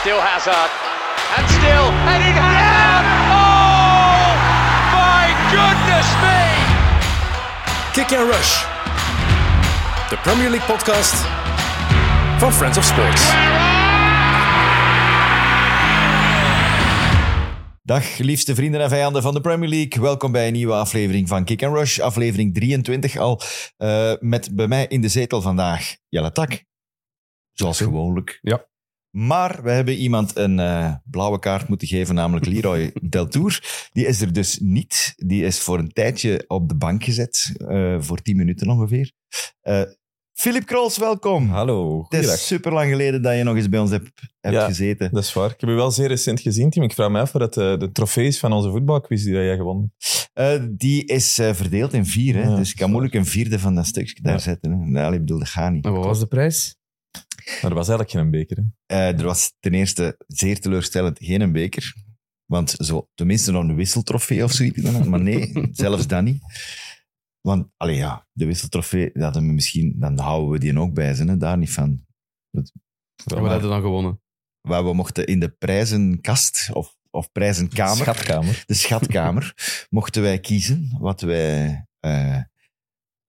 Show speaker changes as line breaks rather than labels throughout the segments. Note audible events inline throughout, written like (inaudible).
Still Hazard. And still heading Hazard. Oh, my goodness me.
Kick and Rush. De Premier League podcast van Friends of Sports.
Dag liefste vrienden en vijanden van de Premier League. Welkom bij een nieuwe aflevering van Kick and Rush, aflevering 23 al. eh, met bij mij in de zetel vandaag Jelle Tak. Zoals gewoonlijk.
Ja.
Maar we hebben iemand een eh, blauwe kaart moeten geven, namelijk
(laughs)
Leroy Deltour. Die is er dus niet. Die is voor een tijdje op de bank gezet, eh, voor 10 minuten ongeveer. Eh Filip Krols, welkom.
Hallo,
Het
goeiedag.
is super lang geleden dat je nog eens bij ons hebt, hebt
Ja.
gezeten.
Dat is waar. Ik heb je wel zeer recent gezien, Tim. Ik vraag me af wat eh, de, de trofee is van onze voetbalquiz die jij gewonnen hebt.
Eh, die is eh, verdeeld in vier, hè?
Ja,
dus ik kan moeilijk een vierde van dat stukje daar
Ja.
zetten. Hè? Nou, ik bedoel, dat gaat niet.
En wat was de prijs?
Maar er was eigenlijk geen beker. Hè?
Eh, er was ten eerste zeer teleurstellend geen een beker. Want zo, tenminste nog een wisseltrofee of zoiets. dan. Maar nee,
(laughs)
zelfs dat niet. Want, allee ja, de wisseltrofee, dat hadden we misschien, dan houden we die ook bij, zijn, hè? daar niet van.
En wat hadden we dan gewonnen?
Waar we mochten in de prijzenkast, of, of prijzenkamer,
Schatkamer.
de schatkamer,
(laughs)
mochten wij kiezen wat wij... eh,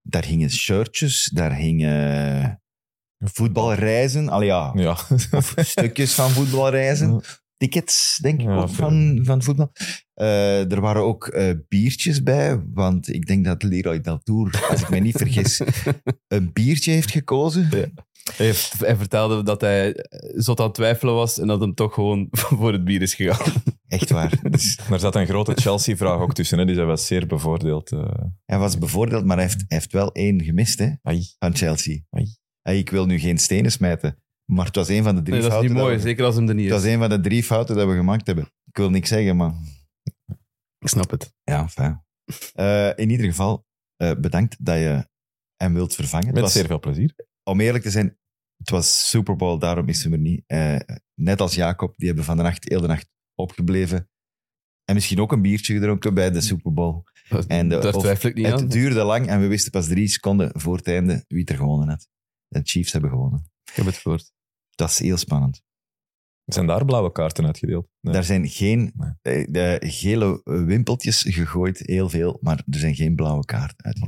daar hingen shirtjes, daar hingen voetbalreizen. Allee ja,
Ja.
stukjes van voetbalreizen.
Ja.
Tickets, denk ik,
Ja,
ook
veel.
van, van voetbal. Eh, er waren ook eh, biertjes bij, want ik denk dat Leroy Deltour, als ik me niet
(laughs)
vergis, een biertje heeft gekozen.
Hij, heeft- hij vertelde dat hij eh, zot aan het twijfelen was en dat hem toch gewoon (laughs) voor het bier is gegaan.
Echt waar. Dus
(laughs) Maar er zat een grote Chelsea-vraag ook tussen, hè? dus hij was zeer bevoordeeld. eh.
hij was bevoordeeld, maar hij heeft, hij heeft wel één gemist hè,
Ai.
van Chelsea.
Ai.
Hey, ik wil nu geen stenen smijten, maar het was een van de drie
Nee, dat is
fouten.
niet mooi,
dat we-
zeker als hem er niet
het was
is.
een van de drie fouten dat we gemaakt hebben. Ik wil niks zeggen, maar
Ik snap het.
Ja, fijn. Eh, in ieder geval, eh, bedankt dat je hem wilt vervangen. Het
Met
was-
zeer veel plezier.
om eerlijk te zijn, het was Super Bowl, daarom is hem er niet. Eh, net als Jacob, die hebben van de nacht, heel de nacht opgebleven. En misschien ook een biertje gedronken bij de Super Bowl. En de-
Daar
of-
twijfel ik niet aan.
Het duurde lang en we wisten pas drie seconden voor het einde wie er gewonnen had. De Chiefs hebben gewonnen.
Ik heb het gehoord.
Dat is heel spannend.
Zijn daar blauwe kaarten uitgedeeld? Nee.
Daar zijn geen
Nee.
eh, de gele eh, wimpeltjes gegooid, heel veel, maar er zijn geen blauwe kaart uit.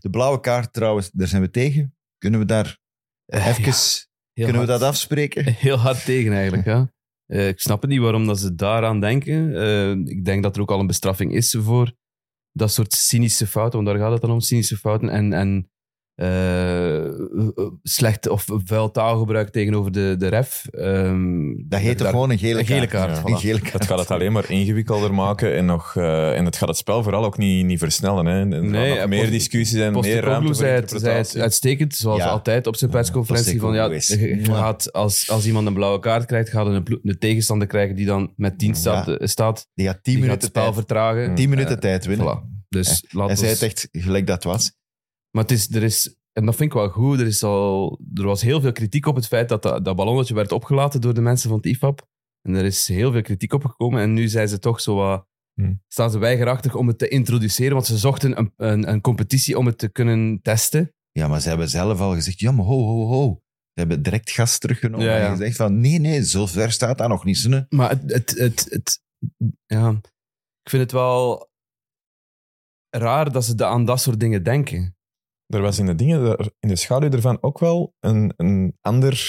De blauwe kaart trouwens, daar zijn we tegen. Kunnen we daar eh,
Eh,
even, kunnen we dat afspreken?
(laughs) Heel hard tegen eigenlijk, ja. Eh, ik snap het niet waarom dat ze daaraan denken. Eh, ik denk dat er ook al een bestraffing is voor dat soort cynische fouten, want daar gaat het dan om, cynische fouten en, en eh, slecht of vuil taalgebruik tegenover de, de ref. Ehm,
Dat heet toch
daar-
gewoon een gele
een
kaart?
gele kaart,
Ja.
voilà.
Een gele kaart.
Het gaat het alleen maar ingewikkelder maken en, nog, eh, en het gaat het spel vooral ook niet, niet versnellen. Hè. Er gaan
Nee,
nog
en
meer
Post-
discussies en meer ruimte
Postecoglou
voor
zei het, zei het
interpretatie.
uitstekend, zoals
Ja.
altijd op zijn persconferentie. Van, ja,
Postecoglou is-
je gaat, als, als iemand een blauwe kaart krijgt, gaat een, plo- een tegenstander krijgen die dan met 10 staat, eh, staat
Die gaat
die
tien
gaat het
minuten,
spel
tijd,
vertragen.
tien minuten
Eh,
tijd winnen.
voilà. Dus laat
Hij zei
ons-
het echt gelijk dat het was.
Maar het is, er is, en dat vind ik wel goed, er, is al, er was heel veel kritiek op het feit dat dat, dat ballonnetje werd opgelaten door de mensen van het IFAB. En er is heel veel kritiek op gekomen. En nu zijn ze toch zo wat,
Hm.
Hmm.
staan ze weigerachtig om het te introduceren, want ze zochten een, een, een competitie om het te kunnen testen.
Ja, maar ze hebben zelf al gezegd, ja, maar ho, ho, ho. Ze hebben direct gas teruggenomen
Ja, ja.
en gezegd van, nee, nee, zo ver staat dat nog niet. hè.
Maar het, het, het, het- ja, ik vind het wel raar dat ze da- aan dat soort dingen denken.
er was in de dingen, daar- in de schaduw daarvan ook wel een, een ander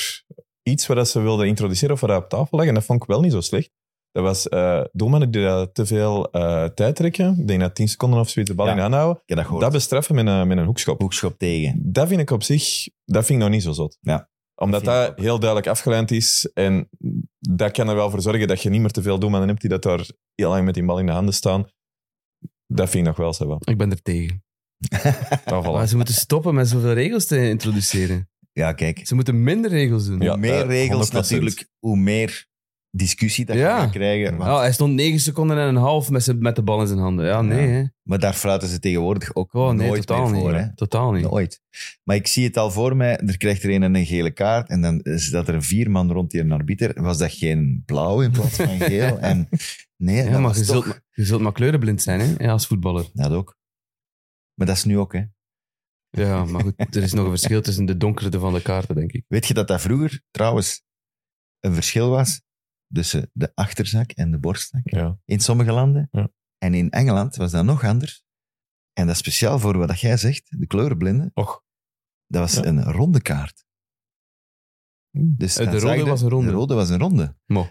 iets wat dat ze wilden introduceren of wat dat op tafel lag. En dat vond ik wel niet zo slecht. Dat was eh doelmannen die dat te veel eh, tijd trekken. Ik denk na 10 seconden of zoiets de bal
Ja,
in de hand houden.
Ik heb dat gehoord.
Dat bestraffen met een, met een hoekschop.
Hoekschop (laughs) tegen.
Dat vind ik op zich dat vind ik nog niet zo zot.
Ja.
Omdat
Dat vind
dat,
ik ook.
heel duidelijk afgeleid is. En dat kan er wel voor zorgen dat je niet meer te veel doelmannen hebt die dat daar heel lang met die bal in de handen staan. Dat vind ik nog wel zo wat.
Ik ben er tegen.
Dan voilà.
Maar ze moeten stoppen met zoveel regels te introduceren.
Ja, kijk.
Ze moeten minder regels doen.
Hoe
Ja,
meer
eh,
regels
100%.
natuurlijk, hoe meer discussie dat je
Ja.
gaat krijgen. Want-
Ja, hij stond 9 seconden en een half met, zijn- met de bal in zijn handen. Ja, nee.
Ja.
Hè.
Maar daar fluiten ze tegenwoordig ook
Oh, nee,
nooit
totaal,
meer
niet.
voor. Hè?
totaal niet.
Nooit. Maar ik zie het al voor mij. Er krijgt er een een gele kaart. En dan is dat er een vier man rond die een arbiter. Was dat geen blauw in plaats van geel?
(laughs)
En nee,
Ja,
dat
maar
was
je
toch...
zult, maar- je zult maar kleurenblind zijn hè? Ja, als voetballer.
Dat ook. Maar dat is nu ook, hè.
Ja, maar goed, er is nog een verschil tussen de donkerte van de kaarten, denk ik.
Weet je dat dat vroeger trouwens een verschil was tussen de achterzak en de borstzak
Ja.
in sommige landen.
Ja.
En in Engeland was dat nog anders. En dat is speciaal voor wat jij zegt, de kleurenblinden.
Och.
Dat was
Ja.
een ronde kaart. Dus
Eh, de
dan
rode
zag je-
was een ronde.
De rode was een ronde.
Mo.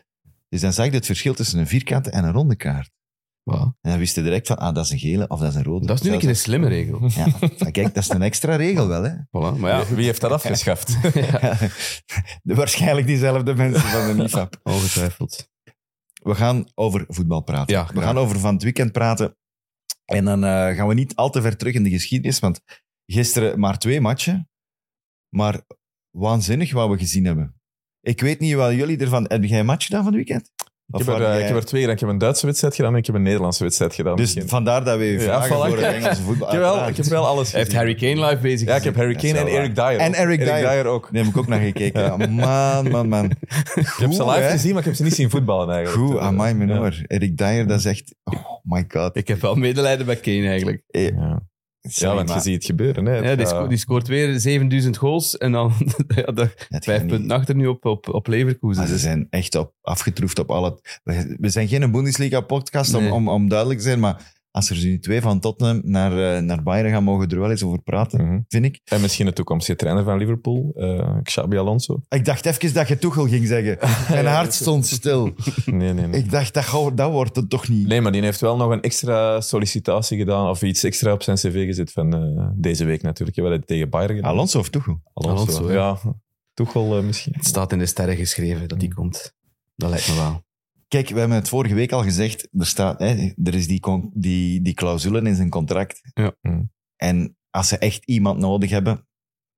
Dus dan zag je het verschil tussen een vierkante en een ronde kaart.
Wauw.
En dan wist je direct van, ah, dat is een gele of dat is een rode.
Dat is nu een keer een
Zelfs-
slimme regel.
Ja, van, kijk, dat is een extra regel wel, hè.
Voilà.
(laughs)
Maar ja,
Wie heeft dat afgeschaft?
ja,
(laughs) De- waarschijnlijk diezelfde mensen
(laughs)
van de NIFAP.
ongetwijfeld.
We gaan over voetbal praten.
Ja,
we
graag.
gaan over van het weekend praten. En dan eh, gaan we niet al te ver terug in de geschiedenis, want gisteren maar twee matchen. Maar waanzinnig wat we gezien hebben. Ik weet niet wat jullie ervan... Heb jij een match gedaan van het weekend?
Ik
Of
heb, er,
waren
eh, ik
jij-
heb er twee gedaan. Ik heb een Duitse wedstrijd gedaan en ik heb een Nederlandse wedstrijd gedaan.
Dus
Misschien.
vandaar dat we je
Ja,
vragen
voilà.
voor het
(laughs)
Engelse voetbal.
ik, heb wel, ik
uiteraard.
heb wel alles
Hij heeft
gezien.
Harry Kane live bezig
Ja, ik heb
gezien.
Harry
Dat is
Kane en
wel waar.
Eric Dyer.
En Eric
ook.
Dyer.
ook.
Daar heb ik ook naar gekeken. Ja, man, man,
(laughs)
man.
Ik heb ze live gezien, maar ik heb ze niet zien voetballen eigenlijk.
Goed,
Eh,
amai, mijn
ja.
oor. Erik Dyer, dat is echt... Oh my god.
Ik heb wel medelijden met Kane eigenlijk.
Ja.
Sorry,
Ja, want je
maar
ziet het gebeuren. Hè. Het,
Ja, die,
eh,
sco- die scoort weer 7000 goals en dan (laughs) ja, de
het gaat
vijf
niet.
punten achter nu op, op, op Leverkusen.
Maar
Ah,
ze zijn echt op, afgetroefd op alle... We zijn geen Bundesliga-podcast, om,
Nee.
om, om duidelijk te zijn, maar als er nu twee van Tottenham naar, eh, naar Bayern gaan, mogen we er wel eens over praten,
mhm.
vind ik.
En misschien de toekomstige trainer van Liverpool, eh Xabi
(laughs)
Alonso.
Ik dacht even dat je Tuchel ging zeggen.
(laughs)
Mijn hart stond stil.
Nee, nee, nee.
Ik dacht, dat, gauw- dat wordt het toch niet.
Nee, maar die heeft wel nog een extra sollicitatie gedaan of iets extra op zijn cv gezet van eh, deze week natuurlijk. We hebben het tegen Bayern gedaan.
Alonso of Tuchel?
Alonso,
ja. Tuchel eh, misschien.
Het staat in de sterren geschreven
Hmm.
dat die komt. Dat lijkt me
Ah,
wel.
Kijk, we hebben het vorige week al gezegd. Er, staat, hè, er is die, con- die, die clausule in zijn contract.
Ja.
Mhm.
En als ze echt iemand nodig hebben...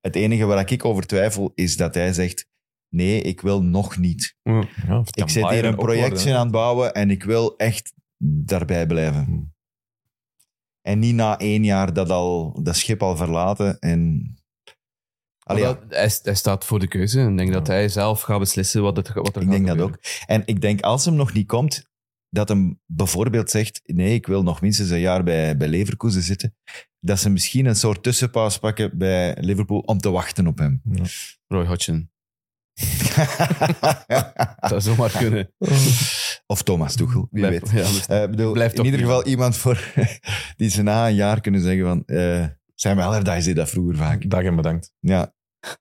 Het enige waar ik over twijfel, is dat hij zegt... Nee, ik wil nog niet.
Ja, of het kan
ik zit hier
Bayern
een
ook
projectje
worden,
aan het bouwen en ik wil echt daarbij blijven.
Hmm.
En niet na één jaar dat, al, dat schip al verlaten. En... Allee,
Maar
ja,
dat- hij, hij staat voor de keuze en ik denk dat
Ja.
hij zelf gaat beslissen wat, het, wat er gaat
ik denk dat
gebeuren.
ook. En ik denk als hem nog niet komt, dat hem bijvoorbeeld zegt: nee, ik wil nog minstens een jaar bij, bij Leverkusen zitten. Dat ze misschien een soort tussenpaus pakken bij Liverpool om te wachten op hem.
hè. Ja.
Roy Hodgson. Dat
Ah.
zou
(laughs)
zomaar kunnen.
(laughs) of Thomas Tuchel, wie weet.
Ja, dus-
Eh, ik bedoel,
Blijft
in
toch
ieder
niet.
geval iemand voor, (laughs) die ze na een jaar kunnen zeggen van... eh zijn we Allardyce deed dat vroeger vaak.
Dag en bedankt.
Ja.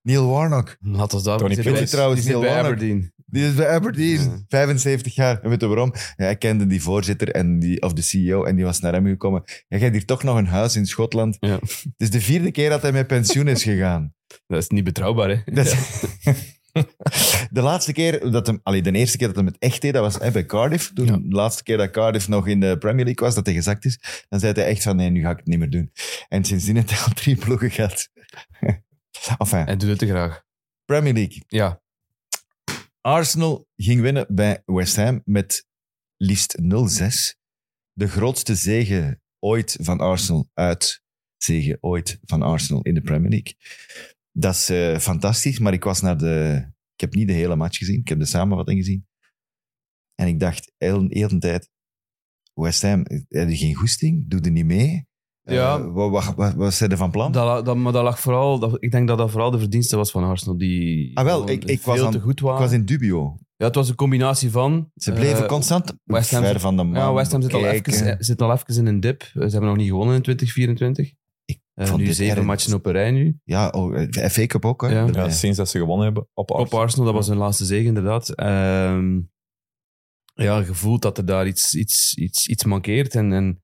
Neil Warnock,
Laat ons daar
Tony
die zit
Pickett
bij-
trouwens,
die zit
heel
bij
lang.
Aberdeen.
die is bij Aberdeen, 75 jaar. En weet je waarom? Ja, hij kende die voorzitter en die, of de CEO en die was naar hem gekomen. Hij gaat hier toch nog een huis in Schotland.
Ja.
Het is de vierde keer dat hij met pensioen is gegaan.
Dat is niet betrouwbaar, hè?
Dat is- (laughs) de laatste keer dat hem... Allee, de eerste keer dat hij het echt deed, dat was hè, bij Cardiff. Toen,
Ja.
De laatste keer dat Cardiff nog in de Premier League was, dat hij gezakt is. Dan zei hij echt van, nee, nu ga ik het niet meer doen. En sindsdien heeft hij al drie ploegen gehad. (laughs) enfin,
Hij doet het te graag.
Premier League.
Ja,
Arsenal ging winnen bij West Ham met liefst 0-6. De grootste zege ooit van Arsenal uit. Zege ooit van Arsenal in de Premier League. Dat is eh, fantastisch, maar ik was naar de... Ik heb niet de hele match gezien, ik heb de samenvatting gezien. En ik dacht heel, heel de tijd, West Ham, heb je geen goesting? Doe er niet mee?
Ja.
Eh, wat, wat, wat, wat zijn er van plan?
dat, la- dat, maar dat lag vooral, dat, ik denk dat dat vooral de verdienste was van Arsenal. Die
Ah, wel,
gewoon
ik- ik
veel
was aan-
te goed
ik
waren.
was in dubio.
Ja, het was een combinatie van.
Ze bleven
eh,
constant
West Ham
ver
zit-
van de man
Ja, West Ham zit al,
bekijken.
even, eh, zit al even in een dip. Eh, Ze hebben nog niet gewonnen in 2024.
Ik
Eh,
vond
nu
dit
zeven
erg.
matchen op een rij nu.
Ja, oh, eh, de FA Cup ook. Hè?
Ja.
Ja,
Ja.
sinds dat ze gewonnen hebben op
Op
Arsenal.
Arsenal, dat was hun laatste zege inderdaad. Ehm, ja, gevoeld dat er daar iets, iets, iets, iets mankeert. En, en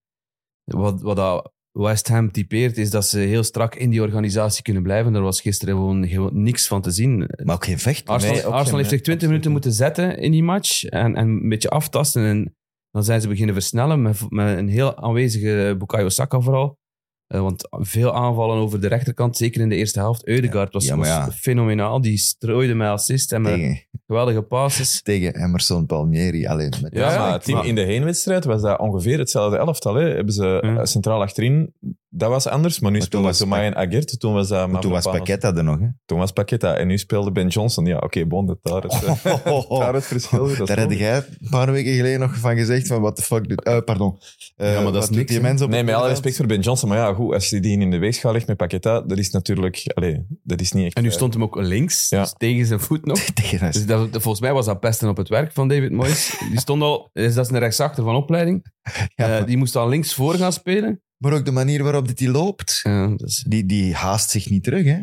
wat, wat dat West Ham typeert, is dat ze heel strak in die organisatie kunnen blijven. Daar was gisteren gewoon, gewoon niks van te zien.
Maar ook geen vecht.
Arsenal,
Nee, ook
Arsenal
geen-
heeft zich 20
absoluut
minuten
niet.
moeten zetten in die match en, en een beetje aftasten. En dan zijn ze beginnen versnellen met, met een heel aanwezige Bukayo Saka vooral. Eh, want veel aanvallen over de rechterkant, zeker in de eerste helft. Eudegaard was,
Ja, maar ja.
was fenomenaal. Die strooide met assist en met
tegen,
geweldige passes.
tegen Emerson Palmieri. Alleen met
Ja,
Ja,
ja,
maar
ik-
het team
maar-
in de heenwedstrijd was dat ongeveer hetzelfde elftal. Hè. Hebben ze
Ja.
eh, centraal achterin dat was anders, maar nu
Maar toen
speelde
was
Tomai en Aguirre. Toen was, dat
Maar toen was
Mavropanos.
Paqueta er nog, hè.
Toen was Paqueta. En nu speelde Ben Johnson. Ja, oké, bon, dat daar is,
(laughs)
eh, (laughs) daar het verschil. dat is
Oh, Daar had
logisch.
jij een paar weken geleden nog van gezegd van what the fuck doet... eh, pardon. Eh,
Ja, maar dat
wat
is
doet
niks,
die
hè?
mens op
Nee,
het
met alle
veld?
respect voor Ben Johnson, maar ja, goed, als je die in de weegschaal legt met Paqueta, dat is natuurlijk... Allee, dat is niet echt...
En nu
eh,
stond hem ook links,
Ja.
dus tegen zijn voet nog.
Tegen
Dus
huis.
dat, dat- volgens mij was dat pesten op het werk van David Moyes. Die stond al, dus dat is een rechtsachter van opleiding.
Ja,
Eh,
maar-
die moest al links voor gaan spelen. Eh, dus
Maar ook de manier waarop dit die loopt.
Ja, dat is-
Die, die haast zich niet terug, hè.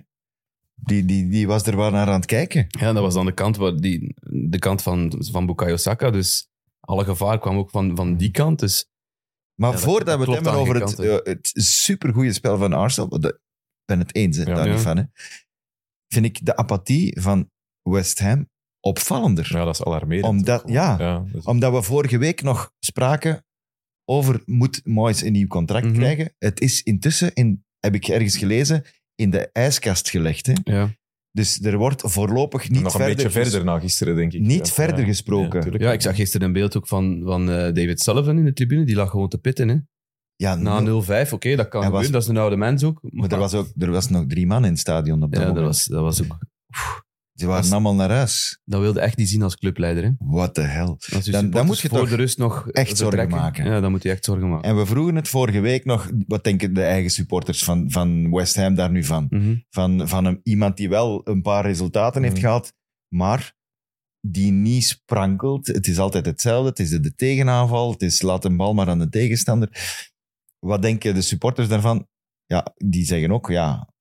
Die, die, die was er wel naar aan het kijken.
ja, dat was dan de kant, waar die, de kant van, van Bukayo Saka. Dus alle gevaar kwam ook van, van die kant. Dus
Maar
Ja, dat-
voordat
dat
we het
klopt
hebben
aan
over
geen
het,
kant,
eh, het supergoeie spel van Arsenal, want dat- ik ben het eens hè,
Ja.
daar niet
Ja.
van, hè, vind ik de apathie van West Ham opvallender.
Ja, dat is alarmerend.
Omdat- ja.
dat is-
Omdat we vorige week nog spraken over moet Moyes een nieuw contract
Mhm.
krijgen. Het is intussen, in, heb ik ergens gelezen, in de ijskast gelegd. Hè?
ja.
Dus er wordt voorlopig niet
nog een
verder...
beetje
ges-
verder na gisteren, denk ik.
Niet
Ja,
verder
ja.
gesproken.
tuurlijk.
ja, ik zag gisteren een beeld ook van, van eh, David Sullivan in de tribune. Die lag gewoon te pitten. Hè.
Ja,
Na
nul.
0-5, oké, dat kan
Hij was-
gebeuren. Dat is een oude mens ook.
Maar er was, ook, er was nog drie man in het stadion op dat
ja, dat
moment.
was, dat was ook...
Ze waren
was-
allemaal naar huis.
Dat wilde echt niet zien als clubleider. Hè.
What the hell.
Als
Dan-
je
dan
supporters
moet je
voor
toch
de rust nog
echt zorgen
vertrekken.
maken.
Ja, dan moet je echt zorgen maken.
En we vroegen het vorige week nog, wat denken de eigen supporters van, van West Ham daar nu van?
Mhm.
Van, van een, iemand die wel een paar resultaten heeft
Mm.
gehad, maar die niet sprankelt. Het is altijd hetzelfde. Het is de, de tegenaanval. Het is laat een bal maar aan de tegenstander. Wat denken de supporters daarvan? Ja, die zeggen ook, ja,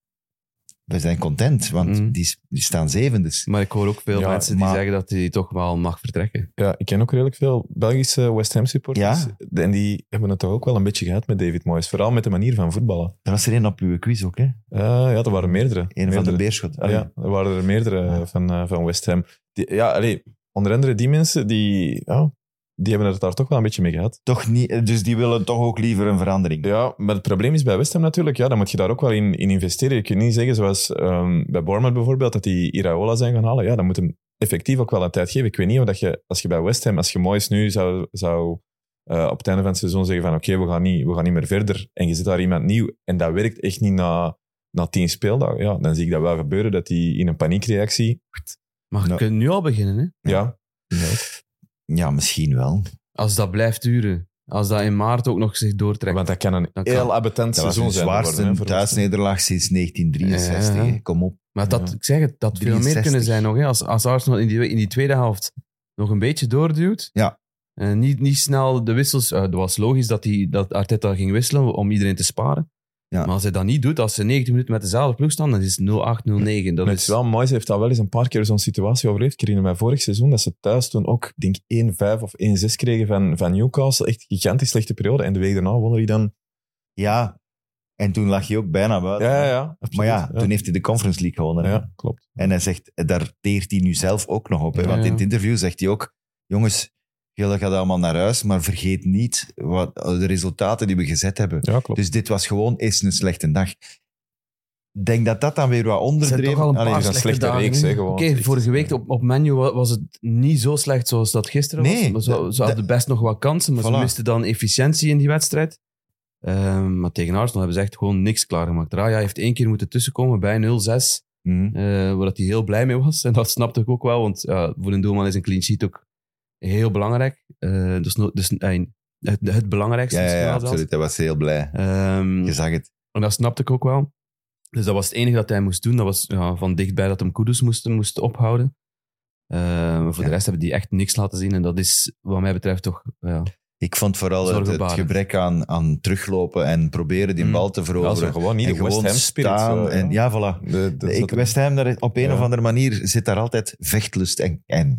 we zijn content, want
Mm.
die, die staan zevendes.
Maar ik hoor ook veel
Ja,
mensen die
maar-
zeggen dat hij toch wel mag vertrekken.
Ja, ik ken ook redelijk veel Belgische West Ham supporters.
Ja.
En die hebben het toch ook wel een beetje gehad met David Moyes. Vooral met de manier van voetballen.
Er was er één op uw quiz ook, hè?
Eh, ja, er waren meerdere.
Een van
Meerdere.
de Beerschot.
Ah, ja, er waren er meerdere eh, van, eh, van West Ham. Die, ja, allee, onder andere die mensen, die, ja, die hebben het daar toch wel een beetje mee gehad.
Toch niet, dus die willen toch ook liever een verandering.
Ja, maar het probleem is bij West Ham natuurlijk, ja, dan moet je daar ook wel in, in investeren. Je kunt niet zeggen, zoals ehm, bij Bournemouth bijvoorbeeld, dat die Iraola zijn gaan halen. Ja, dan moet hem effectief ook wel een tijd geven. Ik weet niet of dat je, als je bij West Ham, als je Moyes nu zou, zou eh, op het einde van het seizoen zeggen van oké, we, gaan niet- we gaan niet meer verder en je zet daar iemand nieuw en dat werkt echt niet na, na tien speeldagen, ja, dan zie ik dat wel gebeuren, dat die in een paniekreactie,
Maar
Nou.
je kunt nu al beginnen, hè?
ja,
Ja, misschien wel.
Als dat blijft duren. Als dat in maart ook nog zich doortrekt.
want dat kan een
Dan kan-
heel abattant
Dat was
seizoen
de
zijn. geworden,
zwaarste
hè, voor West Ham.
thuisnederlaag sinds 1963.
Ja.
hè. Kom op.
maar dat,
Ja.
ik zeg het, dat veel meer
63.
kunnen zijn nog. Hè? Als, als Arsenal in die, in die tweede helft nog een beetje doorduwt.
Ja.
En niet, niet snel de wissels. eh, Het was logisch dat, die, dat Arteta ging wisselen om iedereen te sparen.
Ja.
Maar als hij dat niet doet, als ze 90 minuten met dezelfde ploeg staan, dan is het 0-8, 0-9. Dat
Maar
is
het is wel, Moyes heeft al wel eens een paar keer zo'n situatie overleefd. Ik herinner mij vorig seizoen dat ze thuis toen ook, ik denk 1-5 of 1-6 kregen van, van Newcastle. Echt gigantisch slechte periode. En de week daarna wonnen die dan.
Ja, en toen lag je ook bijna buiten.
Ja, ja, ja. absoluut.
Maar ja, toen heeft hij de Conference League gewonnen. hè.
Ja, klopt.
En hij zegt, daar teert hij nu zelf ook nog op. Hè?
Ja,
Want
ja.
in het interview zegt hij ook, jongens, jullie gaan allemaal naar huis, maar vergeet niet wat, de resultaten die we gezet hebben.
Ja, klopt.
Dus dit was gewoon eens een slechte dag. Ik denk dat dat dan weer wat
Er zijn
onderdreven...
toch al een
Allee,
paar
is een
slechte
slechte
dagen,
reeks,
hè?
hè, gewoon.
Oké,
Echt.
vorige week op, op menu wa- was het niet zo slecht zoals dat gisteren was.
Nee,
Maar ze,
dat-
ze hadden best nog wat kansen, maar ze
Voilà.
misten dan efficiëntie in die wedstrijd. Ehm, maar tegen Arsenal hebben ze echt gewoon niks klaargemaakt. Raya heeft één keer moeten tussenkomen bij 0-6,
Mhm.
eh, waar dat hij heel blij mee was. En dat snapte ik ook wel, want ja, voor een doelman is een clean sheet ook heel belangrijk. Eh, dus no- dus eh, het, het belangrijkste.
Ja, ja,
misschien
ja,
wel zelfs.
absoluut. Hij was heel blij.
Ehm,
Je zag het.
en dat snapte ik ook wel. Dus dat was het enige dat hij moest doen. Dat was ja, van dichtbij dat hem koeders moest, moest ophouden. Eh, maar voor
Ja.
de rest hebben die echt niks laten zien. En dat is, wat mij betreft, toch... Ja,
Ik vond vooral het, het
Zorgenbarend.
gebrek aan, aan teruglopen en proberen die
Mm.
bal te
Ja, zo
veroveren.
gewoon niet
en
de West
gewoon
Ham spirit.
staan.
zo,
en, ja, voilà.
De- de-
ik,
dat-
West Ham, daar, op een
Ja.
of andere manier zit daar altijd vechtlust en, en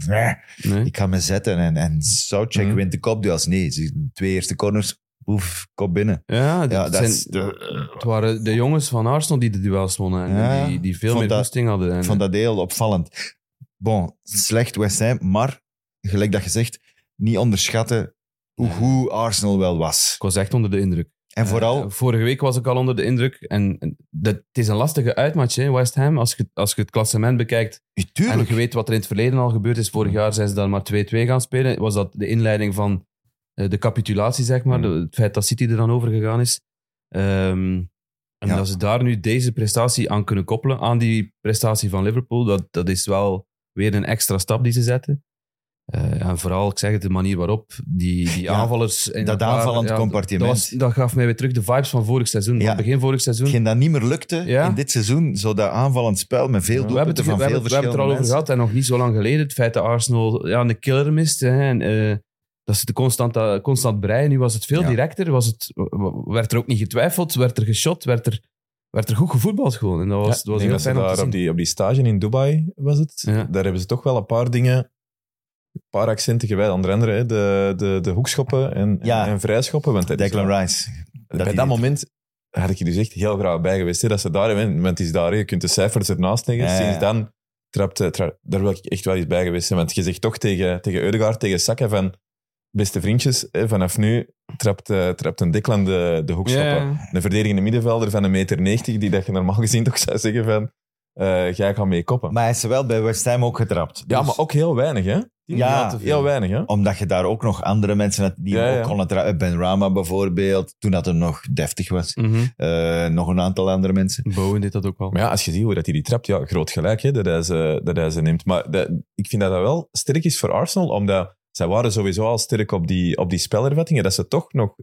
nee?
ik ga me zetten en, en Southcheck
Mm.
wint de kopduels. Nee, ze- twee eerste corners, oef, kop binnen.
ja, dat
Ja, dat
zijn,
is de-
het waren de jongens van Arsenal die de duels wonnen. En
Ja,
die, die veel
vond
meer
dat-
goesting hadden. En,
Ik vond dat heel opvallend. Bon, slecht West Ham, maar gelijk dat gezegd, niet onderschatten hoe goed Arsenal wel was.
Ik was echt onder de indruk.
En
Eh,
vooral,
vorige week was ik al onder de indruk. En, en dat, het is een lastige uitmatch, hè, West Ham. Als je, als je het klassement bekijkt, En
tuurlijk,
je weet wat er in het verleden al gebeurd is. Vorig jaar zijn ze dan maar 2-2 gaan spelen. Was dat de inleiding van eh, de capitulatie, zeg maar.
Mm.
De- het feit dat City er dan over gegaan is. Ehm, En
Ja.
dat ze daar nu deze prestatie aan kunnen koppelen, aan die prestatie van Liverpool, dat, dat is wel weer een extra stap die ze zetten. Eh, en vooral, ik zeg het, de manier waarop die, die
Ja,
aanvallers... in
dat
elkaar-
aanvallend
ja,
compartiment.
Dat, was- dat gaf mij weer terug de vibes van vorig seizoen,
Ja.
van begin vorig seizoen.
Hetgeen dat niet meer lukte
Hm. Ja.
in dit seizoen, zo dat aanvallend spel met veel
we hebben
doelpunten van
het, we
veel
hebben, we hebben het er
verschillende
al over
mensen.
gehad en nog niet zo lang geleden. Het feit dat Arsenal ja, een killer mist. Hè, en, eh, dat ze de constant, dat- constant breien. Nu was het veel
Ja.
directer. Was het, werd er ook niet getwijfeld. Werd er geshot. Werd er, werd er goed gevoetbald gewoon. En dat was,
ik
dat was
denk
heel
dat ze
fijn om
daar
te zien.
op, die, op die stage in Dubai was het.
Ja.
Daar hebben ze toch wel een paar dingen, een paar accenten gewijd. Onder andere hè, de, de, de hoekschoppen en,
Ja.
en, en vrijschoppen. Want dat is wel-
Declan Rice.
bij
hij
dat
dit-
moment had ik je dus echt heel graag bij geweest. Hè, dat ze daar hebben, want het is daar, hè, je kunt de cijfers ernaast leggen.
Ja, ja, ja.
Sinds dan trapte, tra- daar wil ik echt wel eens bij geweest zijn. Want je zegt toch tegen, tegen Eudegaard, tegen Saka van, beste vriendjes, hè, vanaf nu trapt, eh, trapt een Declan de, de hoekschoppen.
Ja.
Een verdedigende middenvelder van 1,90 meter, die dat je normaal (laughs) gezien toch zou zeggen van, eh jij gaat mee koppen.
Maar hij is wel bij West Ham ook getrapt.
ja,
Dus-
maar ook heel weinig, hè?
Ja,
Heel weinig, hè?
Omdat je daar ook nog andere mensen had die
Ja,
hem ook
ja.
konden trappen. Ben Rama bijvoorbeeld, toen dat hem nog deftig was.
Mhm.
Eh, nog een aantal andere mensen.
Bowen deed dat ook wel.
Maar ja, als je ziet hoe dat hij die trapt, ja, groot gelijk hè, dat, hij ze, dat hij ze neemt. Maar dat, ik vind dat dat wel sterk is voor Arsenal, omdat zij waren sowieso al sterk op die, op die spelervattingen, dat ze toch nog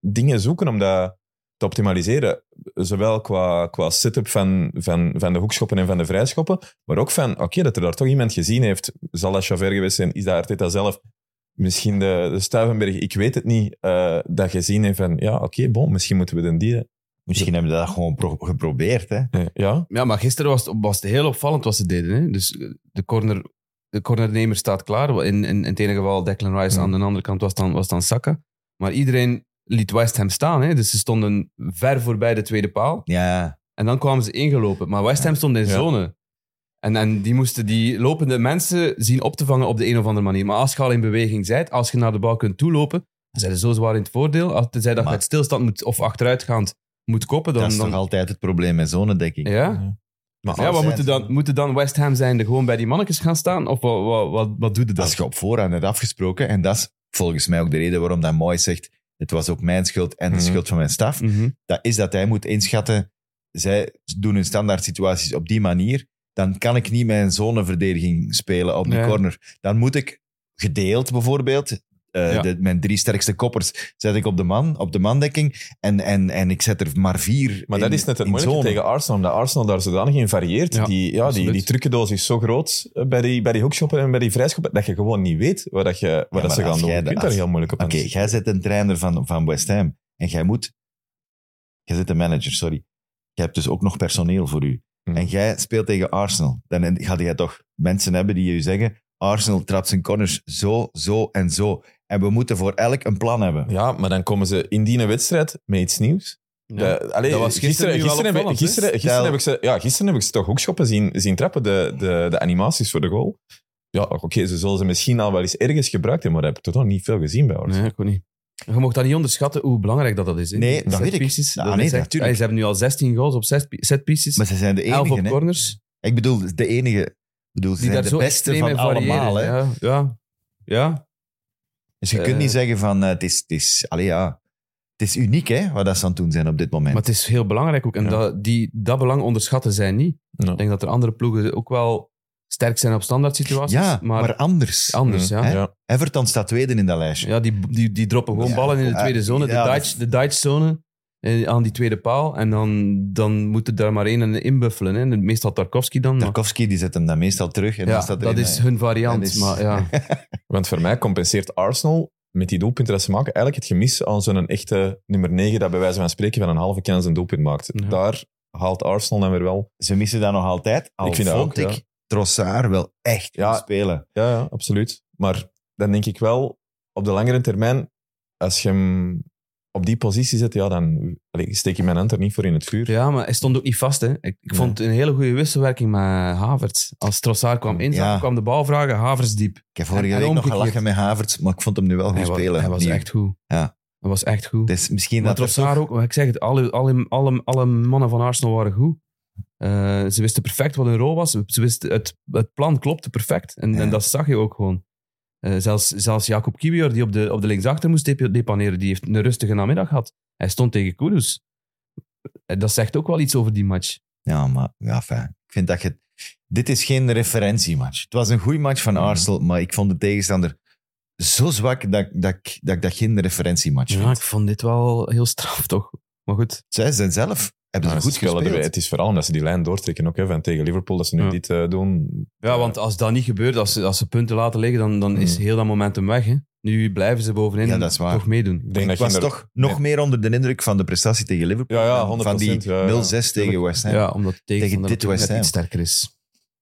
dingen zoeken om dat te optimaliseren. Zowel qua, qua setup van, van, van de hoekschoppen en van de vrijschoppen, maar ook van, oké, dat er daar toch iemand gezien heeft. Zal dat Javert geweest zijn? Is dat Arteta zelf? Misschien de, de Stuivenberg, ik weet het niet, eh, dat gezien heeft van, ja, oké, bon, misschien moeten we den die...
Misschien hebben ze dat gewoon pro- geprobeerd. Hè?
eh, Ja,
Ja, maar gisteren was het, was het heel opvallend wat ze deden. Hè? Dus eh, de, corner, de cornernemer staat klaar. In, in, in het ene geval Declan Rice,
Ja.
aan de andere kant was dan, was dan Saka. Maar iedereen liet West Ham staan. Hè? Dus ze stonden ver voorbij de tweede paal.
Ja,
En dan kwamen ze ingelopen. Maar West Ham stond in
Ja.
zone. En, en die moesten die lopende mensen zien op te vangen op de een of andere manier. Maar als je al in beweging bent, als je naar de bal kunt toelopen, dan zijn ze zo zwaar in het voordeel. Als tenzij dat
Maar-
je uit stilstand moet, of achteruitgaand moet koppen, dan...
dat is
dan
toch altijd het probleem met zonedekking.
ja?
maar
Ja, wat
Altijd.
moeten dan, moeten dan West Ham zijnde gewoon bij die mannetjes gaan staan? Of wat, wat, wat, wat doe je dan?
Dat is je op voorhand hebt afgesproken. En dat is volgens mij ook de reden waarom dat Mooi zegt, het was ook mijn schuld en de
Mhm.
schuld van mijn staf.
Mhm.
Dat is dat hij moet inschatten, zij doen hun standaard situaties op die manier. Dan kan ik niet mijn zoneverdediging spelen op die
Nee.
corner. Dan moet ik gedeeld bijvoorbeeld, eh,
Ja.
de- mijn drie sterkste koppers zet ik op de man, op de mandekking. En, en, en ik zet er maar vier
Maar
in-
dat is net het
in
moeilijke
zone.
tegen Arsenal, omdat Arsenal daar zodanig in varieert.
Ja,
die, ja, die,
absoluut.
die trucendoos is zo groot eh, bij die, bij die hoekschoppen en bij die vrijschoppen, dat je gewoon niet weet wat, dat je, wat
maar
dat ze gaan
als
doen.
jij
Je
de-
kunt daar
als-
heel moeilijk op
Oké,
aan-
jij zit een trainer van, van West Ham en jij moet... Jij zit een manager, sorry. Jij hebt dus ook nog personeel voor u.
Hmm.
En jij speelt tegen Arsenal. Dan gaat jij toch mensen hebben die je zeggen... Arsenal trapt zijn corners zo, zo en zo. En we moeten voor elk een plan hebben.
Ja, maar dan komen ze in die een wedstrijd met iets nieuws.
Ja.
De- allee,
Dat was gisteren nu wel
gisteren, heb,
opvallend, hè?
gisteren, gisteren
Stel-
heb ik ze, ja, gisteren heb ik ze toch hoekschoppen zien, zien trappen, de, de, de animaties voor de goal. Ja, oké, ze zullen ze misschien al wel eens ergens gebruikt hebben, maar dat heb ik toch nog niet veel gezien bij Arsenal.
Eh, Nee, ik weet niet. Je mag dat niet onderschatten hoe belangrijk dat, dat is. hè.
Nee,
Die
dat weet ik.
setpieces,
Ah,
dat
nee,
is echt-
natuurlijk.
Ja, Ze hebben nu al 16 goals op zes pi- setpieces.
Maar ze zijn de
11 op
enige. Hè?
corners.
Ik bedoel, de enige. Ik bedoel, ze
Die
zijn
daar
de
zo
beste
extreem
van
in variëren.
allemaal. Hè?
Ja, ja. ja.
Dus je kunt
Eh.
niet zeggen van... eh, Het is, het is, allee, ja, het is uniek hè, wat dat ze aan het doen zijn op dit moment.
maar het is heel belangrijk ook. En
Ja.
dat, die, dat belang onderschatten zij niet.
Nee.
Ik denk dat er andere ploegen ook wel sterk zijn op standaard situaties.
ja, maar,
maar,
anders.
anders, ja.
hè?
Ja.
Everton staat tweede in dat lijstje.
Ja, die, die, die droppen gewoon
Ja.
ballen in de
Ja,
tweede zone, de,
ja, dat-
Duits, de Duits zone, eh, aan die tweede paal. En dan, dan moet er daar maar één inbuffelen. Hè. Meestal Tarkovsky dan. maar-
Tarkovsky die zet hem dan meestal terug. En
ja,
dan
dat
staat er in,
is
eh,
hun variant.
dat is- (laughs)
Maar ja,
Want voor mij compenseert Arsenal met die doelpunten dat ze maken eigenlijk het gemis aan zo'n echte nummer 9 dat bij wijze van spreken van een halve kans een doelpunt maakt.
Ja.
Daar haalt Arsenal dan weer wel.
Ze missen dat nog altijd. Al
Ik vind dat
vond ik
ook, ja.
Trossard wel echt
Ja.
goed spelen.
Ja, ja, absoluut. Maar dan denk ik wel, op de langere termijn, als je hem op die positie zet, ja, dan allee, steek je mijn hand er niet voor in het vuur.
ja, maar hij stond ook niet vast. Hè. Ik, ik vond een hele goede wisselwerking met Havertz. Als Trossard kwam in,
Ja.
kwam de bal vragen, Havertz diep.
Ik heb vorige
En- en
week nog
omgekeerd.
gelachen met Havertz, maar ik vond hem nu wel goed
Hij was,
spelen.
hij was
opnieuw.
echt goed.
Ja.
Hij was echt goed.
Dus misschien
Maar
dat er
Trossard ook, maar ik zeg het, alle, alle, alle, alle mannen van Arsenal waren goed. Eh, ze wisten perfect wat hun rol was. Ze wisten, het, het plan klopte perfect. En,
Ja.
en dat zag je ook gewoon. Eh, zelfs, zelfs Jacob Kiwior, die op de, op de linksachter moest dep- depaneren, die heeft een rustige namiddag gehad. Hij stond tegen Kudus. En Dat zegt ook wel iets over die match.
Ja, maar ja, fijn. Ik vind dat je... Dit is geen referentiematch. Het was een goede match
Mhm.
van Arsenal, maar ik vond de tegenstander zo zwak dat, dat, ik- dat ik dat geen referentiematch
Ja,
vind.
ik vond dit wel heel straf, toch? Maar goed,
Zij zijn zelf, hebben
Ja,
ze
ze
goed
spelen erbij.
gespeeld.
Het is vooral omdat ze die lijn doortrekken ook, hè, van tegen Liverpool, dat ze nu
Ja.
dit eh, doen.
Ja, want als dat niet gebeurt, als ze, als ze punten laten liggen, dan, dan is heel dat momentum weg. Hè. Nu blijven ze bovenin
Ja, dat is waar.
toch meedoen.
Ik
Ik
denk dat je
was
er-
toch nog
Nee.
meer onder de indruk van de prestatie tegen Liverpool.
Ja, ja,
dan
100%,
Van die 0-6
ja, ja.
tegen West Ham.
Ja, omdat de tegenstander
dit
natuurlijk
West
net
Ham.
iets sterker is.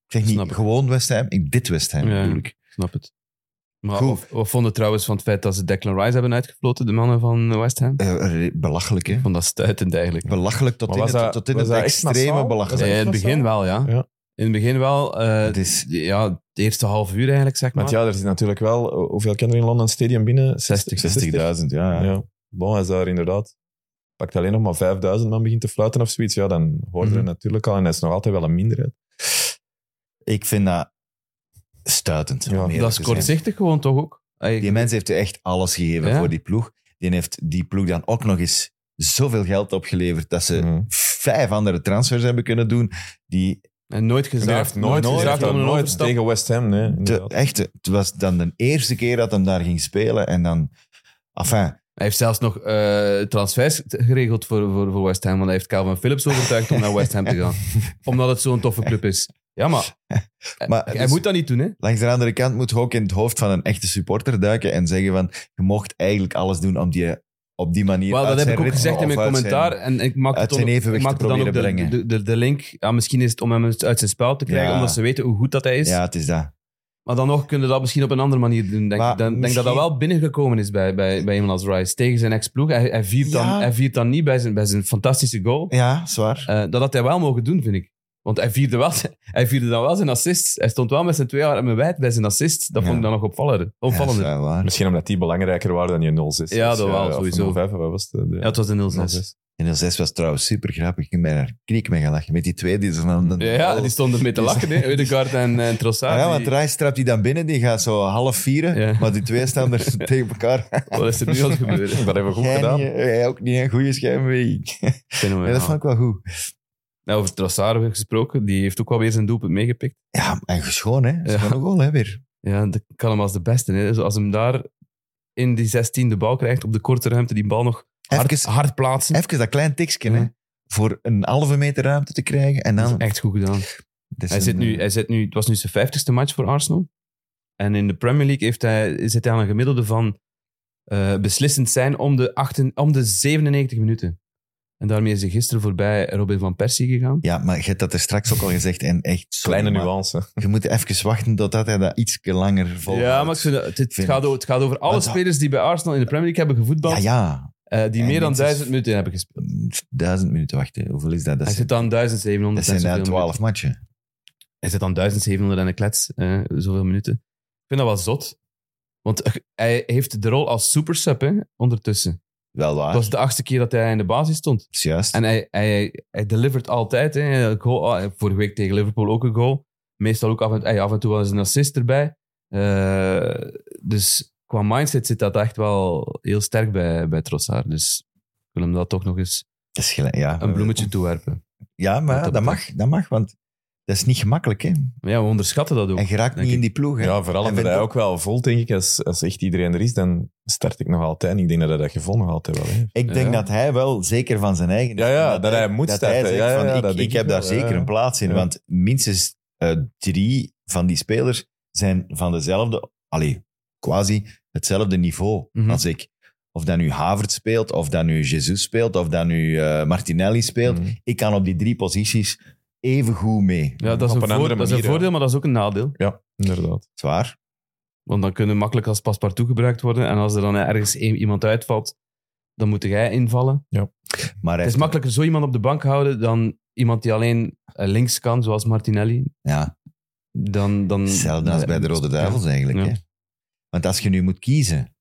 ik zeg niet
snap ik.
gewoon West Ham, ik dit West Ham
Ja.
bedoel ik.
Snap het. Maar
Goed.
wat- wat vonden trouwens van het feit dat ze Declan Rice hebben uitgefloten, de mannen van West Ham?
Eh, eh, belachelijk, hè?
Ik vond dat stuitend eigenlijk.
Belachelijk tot
Maar
in
was
het,
dat-
tot in
was
het
dat echt
extreme
massaal?
belachelijk.
Was
Ja, in het
echt
begin wel, ja.
Ja.
In het begin wel. eh,
Het is-
Ja, het eerste half uur eigenlijk, zeg maar.
Want ja, er is natuurlijk wel... Hoeveel kan er in Londen Stadium binnen?
60.
60.000, ja. ja.
Ja. Bon, als daar inderdaad pakt alleen nog maar 5000 man begint te fluiten of zoiets, ja, dan hoort
Mhm.
er natuurlijk al en dat is nog altijd wel een minderheid.
Ik vind dat stuitend. om
Ja,
eerlijk
dat is
te zijn.
kortzichtig gewoon toch ook? Ey,
Die mens heeft echt alles gegeven
Ja.
voor die ploeg. Die heeft die ploeg dan ook nog eens zoveel geld opgeleverd dat ze
Mhm.
vijf andere transfers hebben kunnen doen. Die
En nooit
Die
gezaagd.
heeft nooit,
nooit
nooit,
gezaagd om een
nooit
overstap.
tegen West Ham, nee.
de,
inderdaad.
echt, het was dan de eerste keer dat hem daar ging spelen. En dan, enfin,
Hij heeft zelfs nog eh, transfers t- geregeld voor, voor, voor West Ham. Want hij heeft Calvin Phillips overtuigd om naar West Ham te gaan. Omdat het zo'n toffe club is. Ja, maar,
Maar
hij
dus-
moet dat niet doen, hè?
langs de andere kant moet je ook in het hoofd van een echte supporter duiken en zeggen van, je mocht eigenlijk alles doen om die op die manier
Wel, dat
uit
heb
zijn
ik ook
ritme
gezegd in
of
mijn
uit zijn-
commentaar. En ik maakte
uit
dan
zijn
ook- ik
evenwicht te
maakte dan ook
proberen
de,
brengen.
de, de, de link. Ja, misschien is het om hem uit zijn spel te krijgen,
Ja.
omdat ze weten hoe goed dat hij is.
Ja, het is dat.
Maar dan nog kunnen we dat misschien op een andere manier doen. Denk, ik.
Maar
Dan- denk dat dat
misschien-
wel binnengekomen is bij, bij, bij iemand als Rice. Tegen zijn ex-ploeg. Hij, hij, viert dan-
Ja.
hij viert dan niet bij zijn, bij zijn fantastische goal.
Ja, zwaar.
Eh, dat had hij wel mogen doen, vind ik. Want hij vierde, wel, zijn- hij vierde dan wel zijn assist. Hij stond wel met zijn twee armen wijd bij zijn assist. Dat
Ja.
vond ik dan nog opvallender. opvallender. Ja,
Ja, zwaar.
Misschien omdat die belangrijker waren dan je 0-6.
Ja, dat wel,
of
sowieso.
0-5, wat was het? De-
het was een 0-6.
0-6.
En 06 was trouwens super grappig. Ik ben er knik mee gaan lachen. Met die twee die ze dan... dan-
Ja, ja, die
(laughs)
stonden mee te lachen, hè. Udegaard en, en Trossard.
Ah ja, want
die-
Rijs trapt die dan binnen, die gaat zo half vieren,
Ja.
maar die twee staan
(laughs)
er tegen elkaar.
Wat is er nu
(laughs)
aan het gebeuren?
Dat hebben we goed
Jij
gedaan.
niet, eh, jij ook niet een goede schijnbeweging. Ja, dat vond ik wel goed.
Nou, over Trossard gesproken, die heeft ook wel weer zijn doelpunt meegepikt.
Ja, en schoon hè.
Ja.
Schoon goal hè, weer.
Ja, dat kan hem als de beste. Hè. Dus als hem daar in die 16 de bal krijgt, op de korte ruimte die bal nog hard,
Even,
hard plaatsen.
even dat klein tikje hè.
Ja.
Voor een halve meter ruimte te krijgen en
Dat
dan...
is echt goed gedaan.
Het is
Hij
een,
zit nu,
eh,
hij zit nu, het was nu zijn vijftigste match voor Arsenal. En in de Premier League heeft hij, zit hij aan een gemiddelde van eh, beslissend zijn om de, 8, om de 97 minuten. En daarmee is hij gisteren voorbij Robin van Persie gegaan.
Ja, maar je hebt dat er straks ook al gezegd en echt... sorry,
Kleine
maar
nuance.
Je moet even wachten totdat hij dat iets langer volhoudt.
ja, maar ik vind dat- het, het
Vind
gaat,
ik.
over- het gaat over alle
Want dat-
spelers die bij Arsenal in de Premier League hebben gevoetbald,
Ja, ja.
eh, die
En
meer dan
minstens-
1000 minuten hebben gespeeld.
Duizend minuten wachten. Hoeveel is dat? Dat
Hij
zijn,
zit aan 1700
dat
en
zijn
zoveel
dan twaalf matchen.
Hij zit aan 1700 en een klets, eh, zoveel minuten. Ik vind dat wel zot. Want eh, hij heeft de rol als supersub hè, ondertussen.
Wel waar.
Het was de achtste keer dat hij in de basis stond.
Dat is juist.
En hij, hij, hij delivert altijd. Hè. Een Goal, ah, vorige week tegen Liverpool ook een goal. Meestal ook af en, hey, af en toe wel eens een assist erbij. Eh, dus qua mindset zit dat echt wel heel sterk bij, bij Trossard. Dus ik wil hem dat toch nog eens
Dat is gelijk, ja.
Eh,
een bloemetje toewerpen.
Ja, maar
Wat dat
dat mag, dat mag, want dat is niet gemakkelijk. Hè? En
Maar ja, we onderschatten dat ook.
je raakt
denk
niet in
ik.
die ploeg. Hè?
Ja, vooral
En
omdat
vind
hij
ik-
ook wel vol, denk ik. Als, als echt iedereen er is, dan start ik nog altijd. Ik denk dat hij dat gevoel nog altijd wel heeft.
Ik denk
Ja.
dat hij wel zeker van zijn eigen is.
Ja, ja,
En
dat hij moet
dat
starten.
zegt
Ja, ja,
van,
ja,
ik,
dat
ik
denk
heb
ik
daar
wel,
zeker
ja.
een plaats in,
Ja.
want minstens eh, drie van die spelers zijn van dezelfde, allee, quasi hetzelfde niveau
Mhm.
als ik. Of dat nu Havert speelt, of dat nu Jesus speelt, of dat nu eh, Martinelli speelt.
Mhm.
Ik kan op die drie posities even goed mee.
ja, dat
op
is, een
een
voor-
andere
dat is een
manier, ja.
voordeel, maar dat is ook een nadeel.
Ja, inderdaad.
Zwaar.
Want dan kunnen makkelijk als paspartout gebruikt worden. En als er dan ergens een- iemand uitvalt, dan moet jij invallen.
Maar hij
Het is
heeft-
makkelijker zo iemand op de bank houden dan iemand die alleen eh, links kan, zoals Martinelli.
Ja,
Dan, dan,
Hetzelfde als bij de Rode Duivels eigenlijk.
Ja.
Hè? Want als je nu moet kiezen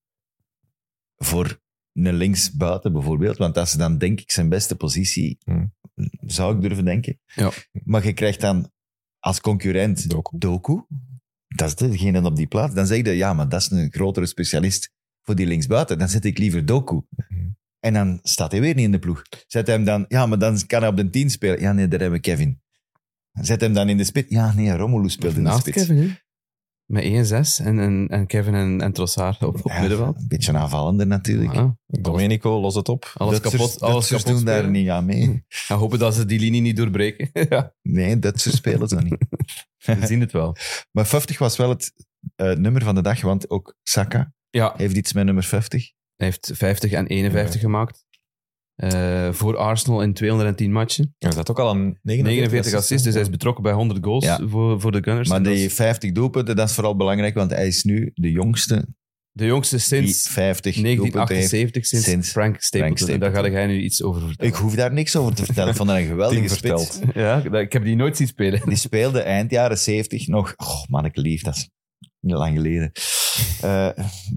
voor een linksbuiten bijvoorbeeld, want dat is dan denk ik zijn beste positie,
Hmm.
zou ik durven denken.
Ja.
Maar je krijgt dan als concurrent
Doku.
Doku, dat is degene op die plaats, dan zeg je, ja, maar dat is een grotere specialist voor die linksbuiten, dan zet ik liever Doku.
Mhm.
En dan staat hij weer niet in de ploeg. Zet hem dan, ja, maar dan kan hij op de 10 spelen. Ja, nee, daar hebben we Kevin. Zet hem dan in de spits. Ja, nee, Romelu speelt in de
Naast
spits.
Kevin, hè? Met 1-6 en, en, en Kevin en, en Trossard op, op
Ja,
middenveld.
een beetje aanvallender natuurlijk.
Ja,
Domenico, los het op.
alles
Duitsers-
kapot, alles
Duitsers
kapot
doen
spelen.
daar niet aan
(laughs)
mee.
En hopen dat ze die linie niet doorbreken. (laughs) ja,
Nee, Duitsers spelen zo
(laughs)
niet. (laughs)
we zien het wel.
Maar 50 was wel het eh, nummer van de dag, want ook Saka
Ja, hij
heeft iets met nummer 50.
heeft 50 en 51 gemaakt. Eh, voor Arsenal in 210 matchen.
Hij zat ook al aan 49,
49 assists, dus hij is betrokken bij 100 goals
Ja.
voor, voor de Gunners.
Maar
En dat
die
is
50 doelpunten, dat is vooral belangrijk, want hij is nu de jongste
de jongste
die
sinds
50 doelpunten heeft.
1978, sinds,
sinds
Frank Stapleton. En daar ga
Stapleton.
jij nu iets over
(laughs)
vertellen.
Ik hoef daar niks over te vertellen. Ik vond dat
(laughs)
een geweldige
Team
spits.
verteld.
Ja, dat- ik heb die nooit zien spelen.
Die speelde eind jaren 70 nog. Oh man, ik lief, dat is niet lang geleden. Eh,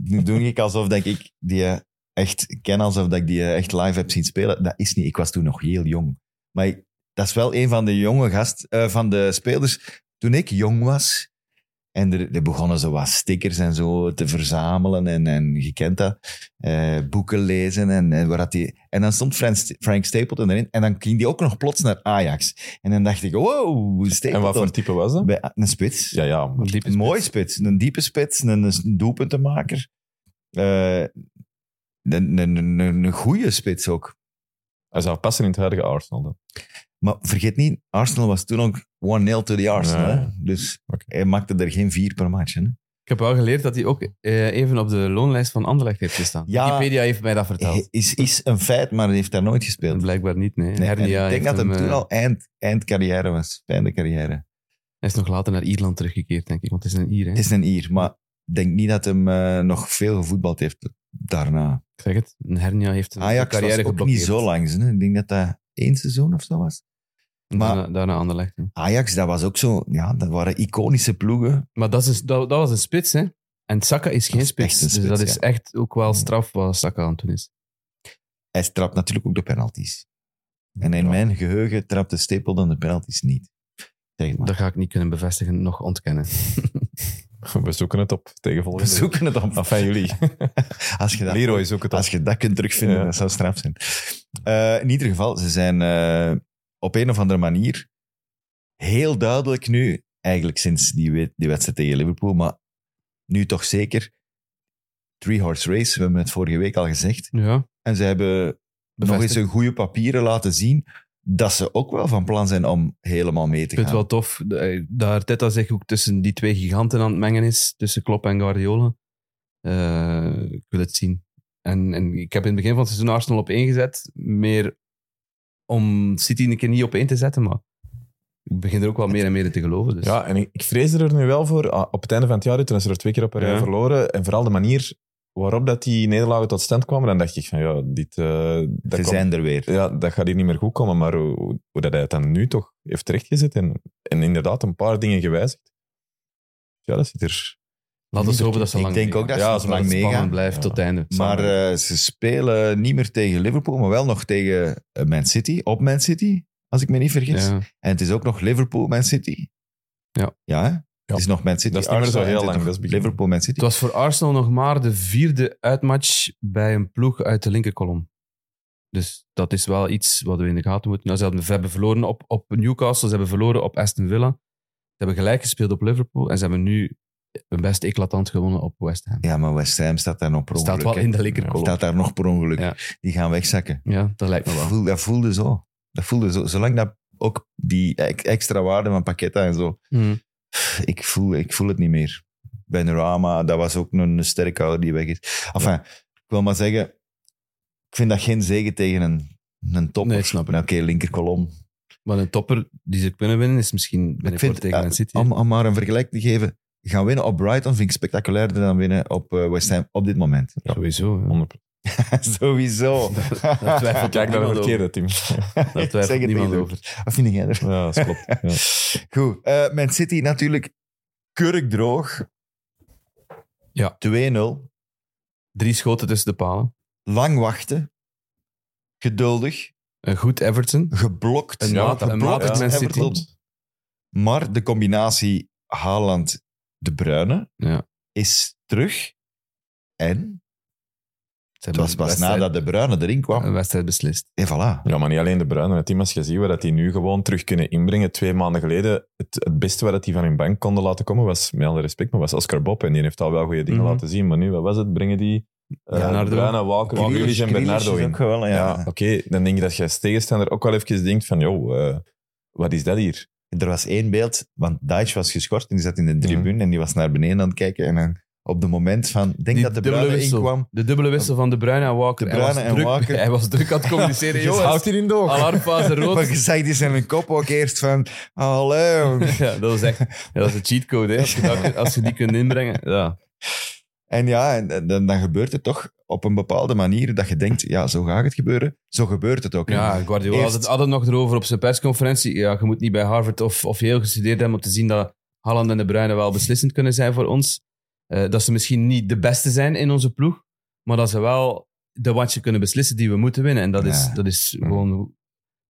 nu doe ik alsof dat ik die eh, echt ken, alsof dat ik die eh, echt live heb zien spelen. Dat is niet. Ik was toen nog heel jong. Maar ik- dat is wel een van de jonge gast, eh, van de spelers. Toen ik jong was, en er, er begonnen zo wat stickers en zo te verzamelen. En, en je kent dat. Eh, boeken lezen. En, en, waar had die, en dan stond Frank, Frank Stapleton erin. En dan ging die ook nog plots naar Ajax. En dan dacht ik, wow, Stapleton.
En wat voor type was dat?
Bij, een spits.
Ja, ja. maar-
Een diepe
een
spits.
mooie spits. Een diepe spits. Een, een doelpuntenmaker. Eh, een, een, een, een goede spits ook.
Hij zou passen in het huidige Arsenal. Dan.
Maar vergeet niet, Arsenal was toen ook 1-0 to the Arsenal.
Nee.
hè. Dus
Oké.
hij maakte er geen vier per match. Hè?
Ik heb wel geleerd dat hij ook eh, even op de loonlijst van Anderlecht heeft gestaan.
Ja.
Wikipedia heeft mij dat verteld.
Is, is een feit, maar hij heeft daar nooit gespeeld.
Blijkbaar niet, nee.
Nee,
Hernia
en ik denk dat
heeft
hem, toen
eh,
al eind, eindcarrière was. Einde carrière.
Hij is nog later naar Ierland teruggekeerd, denk ik. Want het is een Ier, hè?
Het is een Ier, maar ik denk niet dat hem eh, nog veel gevoetbald heeft daarna.
Ik zeg het. Een hernia heeft een
Ajax was ook
carrière geblokkeerd.
niet zo lang. hè. Ik denk dat dat één seizoen of zo was.
En
maar-
daarna, daarna Anderlecht. hè.
Ajax, dat was ook zo... Ja, dat waren iconische ploegen.
Maar dat, is, een- dat, dat was een spits, hè? En Saka is geen
is
spits,
echt een
Dus
spits,
dat
ja. Mm.
is echt ook wel straf wat Saka aan het doen is.
Hij trapt natuurlijk ook de penalties. En in mijn geheugen trapte Stapleton de penalties niet. Zeg maar.
Dat ga ik niet kunnen bevestigen, nog ontkennen.
We zoeken het op tegen
We
volgende week.
zoeken het op.
Enfin,
(laughs)
jullie.
Als je dat
Leroy zoekt het op.
Als je dat kunt terugvinden,
Ja.
dat zou straf zijn. Eh, in ieder geval, ze zijn eh, op een of andere manier heel duidelijk nu, eigenlijk sinds die, we- die wedstrijd tegen Liverpool, maar nu toch zeker, three horse race, we hebben het vorige week al gezegd.
Ja,
En ze hebben nog eens
bevestigd.
hun goede papieren laten zien dat ze ook wel van plan zijn om helemaal mee te
Ik vind het
gaan.
wel tof de- eh, dat Arteta zich ook tussen die twee giganten aan het mengen is, tussen Klopp en Guardiola. Eh, ik wil het zien. En, en ik heb in het begin van het seizoen Arsenal op één gezet, meer om City een keer niet op één te zetten, maar ik begin er ook wel meer en meer in te geloven. Dus.
Ja, en ik, ik vrees er nu wel voor. ah, Op het einde van het jaar, toen ze er twee keer op een rij
Ja.
verloren. En vooral de manier waarop dat die nederlagen tot stand kwamen. Dan dacht ik van, ja, dit, eh, dat,
Ze
komt-
zijn er weer.
ja, dat gaat hier niet meer goed komen. Maar hoe, hoe dat hij het dan nu toch heeft terechtgezet. En, en inderdaad een paar dingen gewijzigd. Ja, dat zit er...
Laten we hopen dat ze
Ik
lang
denk
meegaan.
ook dat
Ja,
ze
als het
lang
spannend
meegaan.
blijft
Ja.
tot het einde.
Maar eh, ze spelen niet meer tegen Liverpool, maar wel nog tegen eh, Man City, op Man City, als ik me niet vergis.
Ja.
En het is ook nog Liverpool-Man City.
Ja.
Ja, hè? Het is nog Man City.
Dat is niet meer zo
Arsenal en
heel
het is
lang,
nog
dat is begin.
Liverpool-Man
Het
City.
was voor Arsenal nog maar de vierde uitmatch bij een ploeg uit de linkerkolom. Dus dat is wel iets wat we in de gaten moeten. Nou, ze, hebben, ze hebben verloren op, op Newcastle, ze hebben verloren op Aston Villa. Ze hebben gelijk gespeeld op Liverpool en ze hebben nu een best eclatant gewonnen op West Ham.
Ja, maar West Ham staat daar nog per ongeluk.
Staat wel
hè.
in de linkerkolom.
Staat daar nog per ongeluk.
Ja.
Die gaan wegzakken.
Ja, dat lijkt me wel.
Voel- dat voelde zo. Dat voelde zo. Zolang dat ook die ex- extra waarde van Paqueta en zo.
Hmm.
Ik voel, ik voel het niet meer. Benrama, dat was ook een sterke ouder die weg is. Enfin, ik wil maar zeggen, ik vind dat geen zegen tegen een, een topper.
Nee, snap ik.
Nou, Oké, linkerkolom.
Maar een topper die ze kunnen winnen is misschien
ik
binnenkort
vind,
tegen
eh,
Man City.
Om, om maar een vergelijk te geven, gaan winnen op Brighton vind ik spectaculairder dan winnen op eh, West Ham op dit moment.
Sowieso. ja.
100%.
(laughs) Sowieso.
Daar twijfelt
(laughs)
Kijk naar
niemand
het
over.
verkeerde team.
Daar
Ik zeg
twijfelt
het
niemand
niet,
over.
Wat vind jij ervan?
(laughs) ja, dat klopt. Ja.
Goed. eh, Man City natuurlijk kurkdroog.
Ja.
2-0.
Drie schoten tussen de palen.
Lang wachten. Geduldig.
Een goed Everton.
Geblokt.
Een matig- een
geblokt
matig Man City.
Everton. Maar de combinatie Haaland-De Bruyne
Ja.
is terug. En
Het
Het was pas nadat de Bruine erin kwam.
Een wedstrijd beslist.
En voilà.
Ja, maar niet alleen de Bruinen. Het team als je ziet waar dat die nu gewoon terug kunnen inbrengen. Twee maanden geleden, het, het beste waar dat die van hun bank konden laten komen was, met alle respect, maar was Oscar Bob. En die heeft al wel goede dingen
Mhm.
laten zien. Maar nu, wat was het? Brengen die eh
Ja, Bernardo.
Bruinen, Walker, Grealish en Bernardo
is
in.
ook wel, ja.
Ja, oké. Dan denk je dat je als tegenstander ook wel even denkt van, joh, eh, wat is dat hier?
Er was één beeld, want Daesh was geschort en die zat in de
Ja.
tribune en die was naar beneden aan het kijken. En dan op het moment van, denk
Die
dat de
dubbele
Bruine
wissel.
inkwam.
De dubbele wissel van De Bruyne en Walker.
De
Hij was
Bruyne en
druk-
Walker.
Hij was druk aan het
(laughs)
communiceren.
Dus
Jongens,
hier in door.
alarmfase
Maar je
rood.
zag die zijn kop ook eerst van, hallo.
Ja, dat was echt ja, dat is een cheatcode. hè. Als, je dat- als je die kunt inbrengen. Ja.
En ja, en, en dan, dan gebeurt het toch op een bepaalde manier dat je denkt, ja, zo gaat het gebeuren. Zo gebeurt het ook.
Ja, Guardiola had,
Eerst-
het, had het nog erover op zijn persconferentie. Ja, je moet niet bij Harvard of, of Yale gestudeerd hebben om te zien dat Haaland en De Bruyne wel beslissend kunnen zijn voor ons. Eh, dat ze misschien niet de beste zijn in onze ploeg, maar dat ze wel de watje kunnen beslissen die we moeten winnen. En dat is,
Ja. Hm.
dat is gewoon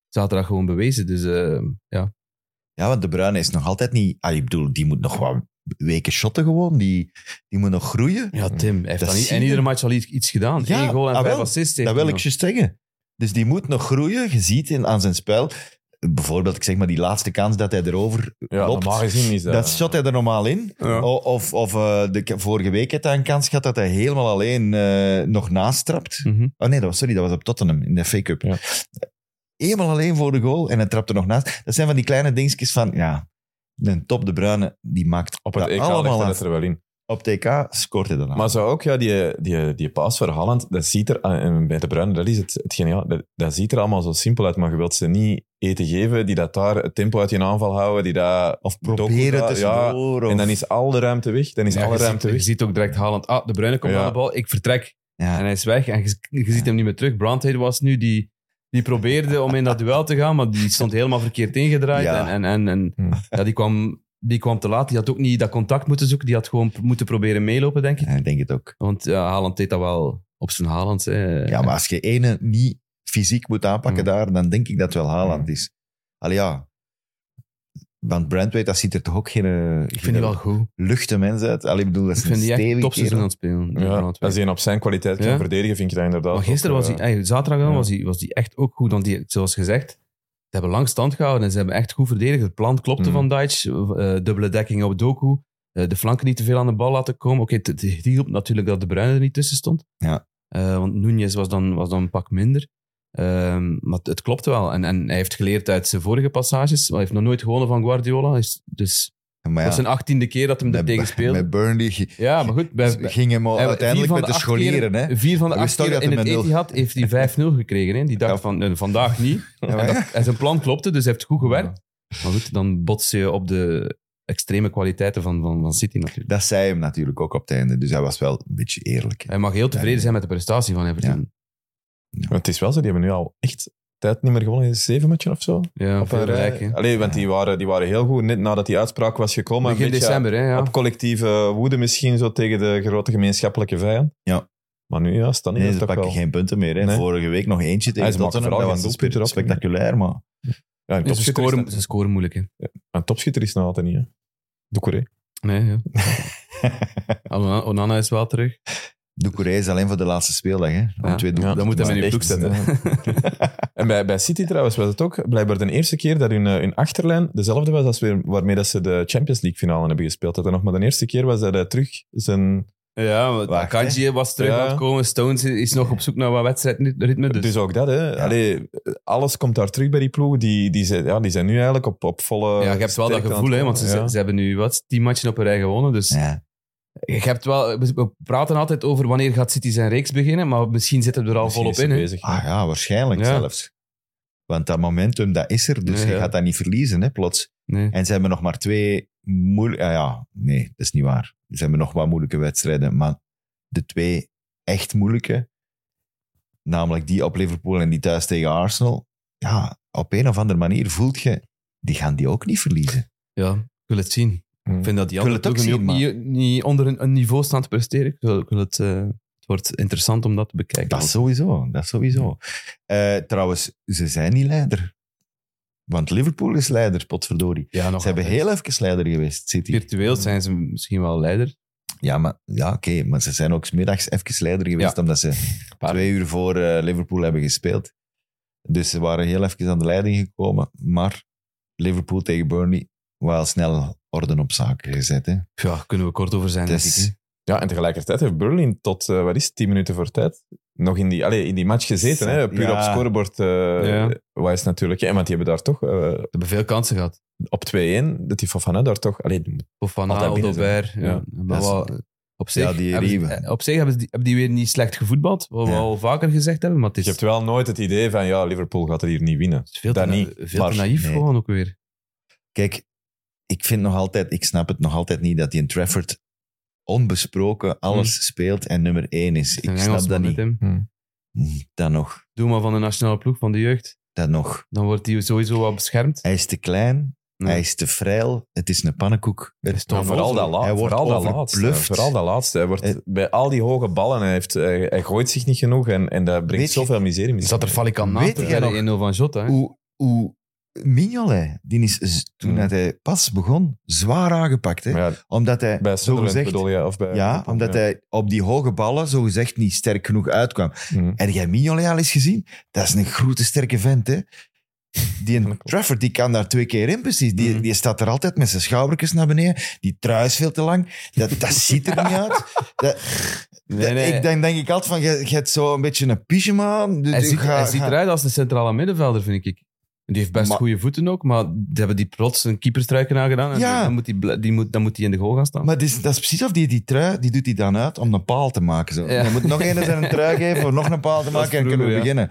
zaterdag gewoon bewezen. Dus eh, ja.
Ja, want De Bruyne is nog altijd niet... Ah, ik bedoel, die moet nog wat weken shotten gewoon. Die, die moet nog groeien.
ja, Tim hij heeft
Dat
dan niet,
zie
en
je.
iedere match al iets, iets gedaan.
Ja,
Eén goal en
ah,
vijf
wel.
assists. heeft
Dat
hij
wil ik
nog.
juist zeggen. Dus die moet nog groeien. Je ziet in, aan zijn spel, bijvoorbeeld, ik zeg maar, die laatste kans dat hij erover
Ja,
loopt.
normaal gezien is dat...
Dat shot hij er normaal in.
Ja.
O- Of, of eh, de, ke- vorige week had hij een kans gehad dat hij helemaal alleen eh, nog naastrapt.
Mhm.
Oh nee, dat was, sorry, dat was op Tottenham in de fake-up.
Ja.
Helemaal alleen voor de goal en hij trapt er nog naast. Dat zijn van die kleine dingetjes van, ja, een top de Bruyne, die maakt
Op het
dat
EK
allemaal
legde
af.
het er wel in.
Op TK scoort hij dan af.
Maar zo ook, ja, die, die, die paas voor Haaland, dat ziet er, ah, en bij de Bruinen, dat is het, het geniaal, dat, dat ziet er allemaal zo simpel uit, maar je wilt ze niet eten geven, die dat daar het tempo uit je aanval houden, die dat...
of
Doku
proberen
daar,
tussendoor.
En
of-
dan is al de ruimte weg, dan is
Ja,
alle
je, ziet,
ruimte
je
weg.
ziet ook direct Haaland. Ah, de Bruyne komt
Ja.
aan de bal. Ik vertrek.
Ja.
En hij is weg. En je, je ziet hem niet meer terug. Brandheid was nu die, die probeerde om in dat duel te gaan, maar die stond helemaal verkeerd ingedraaid.
Ja. Hm.
En, en, en, en
Hmm.
ja, die, kwam, die kwam te laat. Die had ook niet dat contact moeten zoeken. Die had gewoon p- moeten proberen meelopen, denk ik.
Ja, ik denk het ook.
Want ja, Haaland deed dat wel op zijn Haaland.
Ja, maar als je ene niet fysiek moet aanpakken
Mm.
daar, dan denk ik dat het wel Haaland
Mm.
is. Allee, ja. Want Brandweight, dat ziet er toch ook geen, eh,
ik
geen
vind die wel goed.
luchte mens uit. Allee, ik bedoel, dat
Ik
is
vind
een
die echt
stevig
topseizoen aan
kerel.
het spelen. die
Ja,
Brandweer.
als hij op zijn kwaliteit kan
Ja.
verdedigen, vind ik dat inderdaad...
Maar
ook,
gisteren was hij,
eh,
eigenlijk zaterdag dan,
ja.
was hij, was hij echt ook goed. Want die, zoals gezegd, ze hebben lang stand gehouden en ze hebben echt goed verdedigd. Het plan klopte
Mhm.
van Deitch. eh, dubbele dekking op Doku. eh, de flanken niet te veel aan de bal laten komen. Oké, het- het het hielp natuurlijk dat de Bruyne er niet tussen stond.
Ja.
Eh, want Nunez was dan, was dan een pak minder. Ehm, maar het, het klopte wel. En, en hij heeft geleerd uit zijn vorige passages. Hij heeft nog nooit gewonnen van Guardiola. Hij is- Dus
Maar
dat is
ja,
zijn achttiende keer dat hem er
met,
tegen speelde.
met Burnley ge-
ja, maar goed. bij-
ging hem al
hij- vier
Oh, uiteindelijk
van
met de
acht keren-
scholieren.
(laughs)
Hè?
Vier van de
We
acht
wisten ook
keer
dat
in
hij
het
met
Etihad heeft hij 5-0 gekregen. Hè? Die dacht
Ja.
van, eh, vandaag niet.
(laughs) Ja, maar-
En, dat- en zijn plan klopte, dus hij heeft goed gewerkt. Maar goed, dan bots je op de extreme kwaliteiten van, van, van City natuurlijk.
Dat zei hem natuurlijk ook op het einde. Dus hij was wel een beetje eerlijk.
Hij mag heel tevreden zijn met de prestatie van Everton.
maar Het is wel zo, die hebben nu al echt tijd niet meer gewonnen in zeven matchen of zo.
Ja,
Op
veel
een rij.
eh,
gelijk, hè.
Allee, want die waren, die waren heel goed, net nadat die uitspraak was gekomen. een
Begin
beetje-
december, hè, ja.
op collectieve woede misschien zo tegen de grote gemeenschappelijke vijand.
Ja.
Maar nu ja, Stanley
Nee,
is
ze
toch wel...
pakken geen punten meer. Hè?
Nee.
Vorige week nog eentje tegen
maken
Tottenham.
vooral
Dat
geen
was een
doelpunten
spe-
erop.
spectaculair, maar...
Ja, een
En Ze
topschutter,
scoren,
is,
ze scoren moeilijk, hè.
een topschutter is nog altijd niet. Hè. Doucouré.
Nee,
(laughs)
ja. Onana- Onana is wel terug.
Doucouré is alleen voor de laatste speeldag. Hè? Om
Ja.
twee doel-
Ja,
Dan moet hij
dat
in
is
je ploeg
echt,
zetten. (laughs)
En bij, bij City trouwens was het ook blijkbaar de eerste keer dat hun, eh, hun achterlijn dezelfde was als weer, waarmee dat ze de Champions League finale hebben gespeeld. Dat dat nog maar de eerste keer was dat hij terug zijn...
Ja, want
Wacht,
Akanji was terug
Ja.
aan het komen. Stones is nog op zoek naar wat wedstrijdritme.
Dus,
Dus,
ook dat, hè.
Ja.
Allee, alles komt daar terug bij die ploeg. Die, die, zijn, ja, die zijn nu eigenlijk op, op volle...
eh,
ja, je hebt wel dat
sterkte aan
gevoel,
het
hè, want ze,
komen, ja.
ze hebben nu wat, tien matchen op een rij gewonnen. Dus
Ja.
Je hebt wel, we we praten altijd over wanneer gaat City zijn reeks beginnen, maar misschien zitten we er al
Misschien
volop
is ze
in. hè.
bezig.
Ah ja, waarschijnlijk
Ja.
zelfs. Want dat momentum, dat is er. Dus
Ja,
je
ja.
gaat dat niet verliezen, hè, plots.
Nee.
En ze hebben nog maar twee moeilijke... Ja, ja, nee, dat is niet waar. Ze hebben nog wat moeilijke wedstrijden. Maar de twee echt moeilijke, namelijk die op Liverpool en die thuis tegen Arsenal, ja, op een of andere manier voelt je, die gaan die ook niet verliezen.
Ja, ik wil het zien.
Hmm.
Ik vind dat die
Mm. Ik wil
andere
het ook
ploegen nu ook
zien,
niet, niet onder een, een niveau staan te presteren. Ik wil, ik wil het, eh, het wordt interessant om dat te bekijken.
Dat sowieso, dat sowieso. Eh, trouwens, ze zijn niet leider. Want Liverpool is leider, potverdorie.
ja, nog
Ze hebben
altijd.
heel even leider geweest, City.
Virtueel zijn ze misschien wel leider.
Ja, maar, ja, oké, maar ze zijn ook 's middags even leider geweest, omdat ze twee uur voor eh, Liverpool hebben gespeeld. Dus ze waren heel even aan de leiding gekomen, maar Liverpool tegen Burnley wel snel orde op zaken gezet. Hè.
Ja, kunnen we kort over zijn.
Het
denk
is-
ik, hè.
Ja, en tegelijkertijd heeft Berlin tot, eh, wat is het, 10 minuten voor tijd nog in die, allee, in die match gezeten. Hè? Puur
Ja.
op scorebord eh
Ja.
wijs natuurlijk. Ja, want die hebben daar toch eh,
We hebben veel kansen gehad.
op 2-1, dat die Fofana daar toch... Allee, die moet-
Of Van
Altijd
Gaal,
binnen zijn.
Dober. Ja.
Ja.
Maar
Dat is-
wel, op zich,
Ja, die
hebben, ze-
Rieven.
eh, op zich hebben, ze die, hebben die weer niet slecht gevoetbald, wat we
Ja.
al vaker gezegd hebben, maar
Dus-
het is,
je hebt wel nooit het idee van, ja, Liverpool gaat er hier niet winnen.
het is veel, te,
dat
na-
niet,
veel
maar-
te naïef
nee.
gewoon ook weer.
Kijk, ik vind nog altijd, ik snap het nog altijd niet dat die in Trafford onbesproken alles speelt en nummer één is.
Een
Ik snap dat
Engelsman,
niet. Hm,
hè, Tim.
Dat nog,
Doe maar van de nationale ploeg, van de jeugd.
dat nog.
Dan wordt die sowieso wel beschermd.
Hij is te klein,
Ja.
hij is te vrij, het is een pannenkoek. Het
is toch
Maar
Tom
vooral dat,
Wolf,
laat,
hij wordt
vooral dat laatste.
overbluft.
Vooral dat laatste. Hij wordt
Eh.
bij al die hoge ballen, hij, heeft, hij, hij gooit zich niet genoeg en, en dat brengt
Weet je-
zoveel miserie mee.
Is dat er Valikant na
Weet
te
jij
tellen
nog-
in 0 van Jota? hè?
hoe, hoe Mignolet, die is z- toen
Hmm.
dat hij pas begon, zwaar aangepakt. Hè?
Maar ja,
Omdat hij,
bij Sunderland
zogezegd-
bedoel je? eh, Of bij
ja, omdat hij op die hoge ballen zogezegd niet sterk genoeg uitkwam.
Mhm.
Heb jij Mignolet al eens gezien? Dat is een grote, sterke vent. Hè? Die in
klopt.
Trafford die kan daar twee keer in, precies. Die,
Mhm.
die staat er altijd met zijn schoudertjes naar beneden. Die trui is veel te lang. Dat, dat ziet er niet uit. Dat,
Nee, nee.
Ik denk, denk ik altijd van, je je hebt zo een beetje een pyjama aan. Dus
Hij,
ik
ziet,
ga-
hij ziet
ga-
eruit als een centrale middenvelder, vind ik. En Die heeft best
Maar-
goede voeten ook, maar die hebben die plots een keeperstruiken aangedaan. En
Ja.
dan, moet die, bl- die moet, dan moet die in de goal gaan staan.
Maar het is, dat is precies of die, die trui, die doet hij dan uit om een paal te maken. Zo.
Ja.
Je moet nog een zijn een trui geven om nog een
(laughs)
paal te
Dat is
maken en kunnen we
vroeger,
beginnen.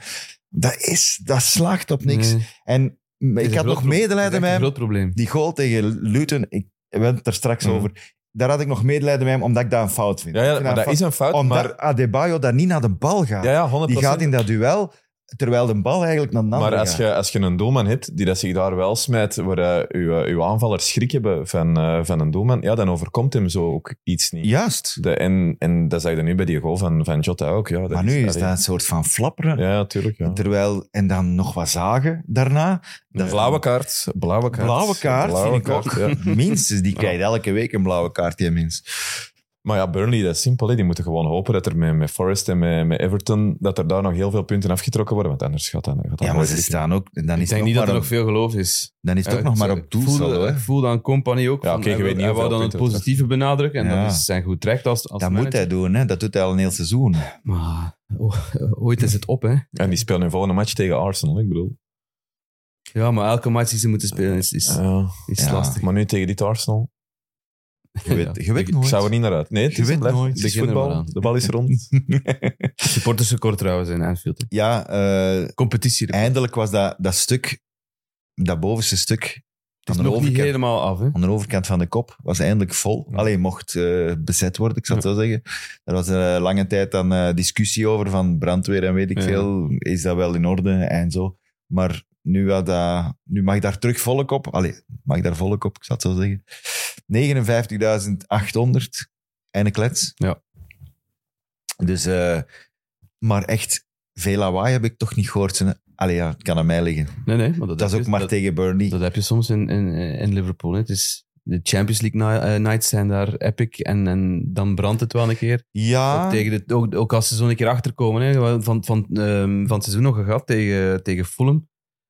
Dat, is, dat slaagt op niks.
Nee.
En m-
Het is
ik
een
had
groot
nog
pro-
medelijden
het is echt
met
een
hem.
groot probleem.
Die goal tegen Luton, ik we hebben het er straks
Mhm.
over. Daar had ik nog medelijden met hem, omdat ik dat een fout vind.
Ja,
Ik
ja
vind
maar dat
een
is een
fout,
fout.
Omdat
maar,
Adebayo daar niet naar de bal gaat.
ja, ja, 100%.
die gaat in dat duel, terwijl de bal eigenlijk naar de andere
maar als
gaat.
je, als je een doelman hebt die dat zich daar wel smijt, waar eh, uw, eh, uw aanvallers schrik hebben van, eh, van een doelman, ja, dan overkomt hem zo ook iets niet.
Juist.
De, en, en dat zag je nu bij die goal van, van Jota ook. Ja, dat
Maar nu is
allee,
dat een soort van flapperen.
Ja, ja, tuurlijk. Ja.
Terwijl, en dan nog wat zagen daarna. Dat is-
Blauwe kaart. Blauwe kaart.
Blauwe kaart,
Blauwe
vind ik ook.
kaart, ja.
Minstens, die krijgt elke week een blauwe kaart, die mens.
Maar ja, Burnley, dat is simpel. hè. Die moeten gewoon hopen dat er met, met Forest en met, met Everton, dat er daar nog heel veel punten afgetrokken worden. Want anders gaat dat, gaat dat
Ja, maar
nooit
ze
lukken.
staan ook... En dan
Ik
is het
denk
nog
niet dat
maar
er
op,
nog veel Eh, geloof is.
dan is het ook
Ja,
nog maar
ik-
op
ik voelde,
doelsaldo, hè.
Ik voelde aan Company ook.
Ja,
van,
oké, je
hij
weet niet
hij
hoeveel
wou dan het
punten het
positieve benadrukken. En
Ja.
dat is zijn goed recht als, als
Dat moet hij
manager.
doen, hè. Dat doet hij al een heel seizoen.
Maar o- (laughs) ooit is het op, hè.
En die spelen hun volgende match tegen Arsenal, ik bedoel.
Ja, maar elke match die ze moeten spelen is, is,
Ja.
is
Ja.
lastig.
Maar nu tegen dit Arsenal,
Je weet, je weet
Ik-
ik
nooit.
zou er niet naar uit. Nee, het
Je
is
weet
blijft-
nooit.
Het is
Begin er maar
voetbal,
aan.
de bal is
(laughs)
rond.
Supportersrecord trouwens in Anfield. hè.
Ja, eh,
Competitie.
eindelijk was dat, dat stuk, dat bovenste stuk,
Het
aan
is
de,
nog niet
overkant,
helemaal af, hè.
aan de overkant van de kop, was eindelijk vol.
Ja.
Alleen mocht eh, bezet worden, ik zou het zo zeggen. Er was eh, lange tijd dan eh, discussie over van brandweer en weet ik
Ja.
veel. Is dat wel in orde en zo. Maar nu, had dat, nu mag daar terug volk op. Allee, mag daar volk op, ik zou het zo zeggen. 59.800 en een klets.
Ja.
Dus, eh, maar echt, veel lawaai heb ik toch niet gehoord. Ze- Allee, ja, het kan aan mij liggen.
Nee, nee. Maar
Dat
dat, heb
is ook
je-
maar
dat-
tegen Burnley.
Dat heb je soms in, in, in Liverpool. Hè. Het is, de Champions League ni- eh, nights zijn daar epic en, en dan brandt het wel een keer.
ja,
Ook, tegen de, ook, ook als ze zo een keer achterkomen. Hè. We hebben Van, van, ehm, van het seizoen nog gehad tegen, tegen Fulham.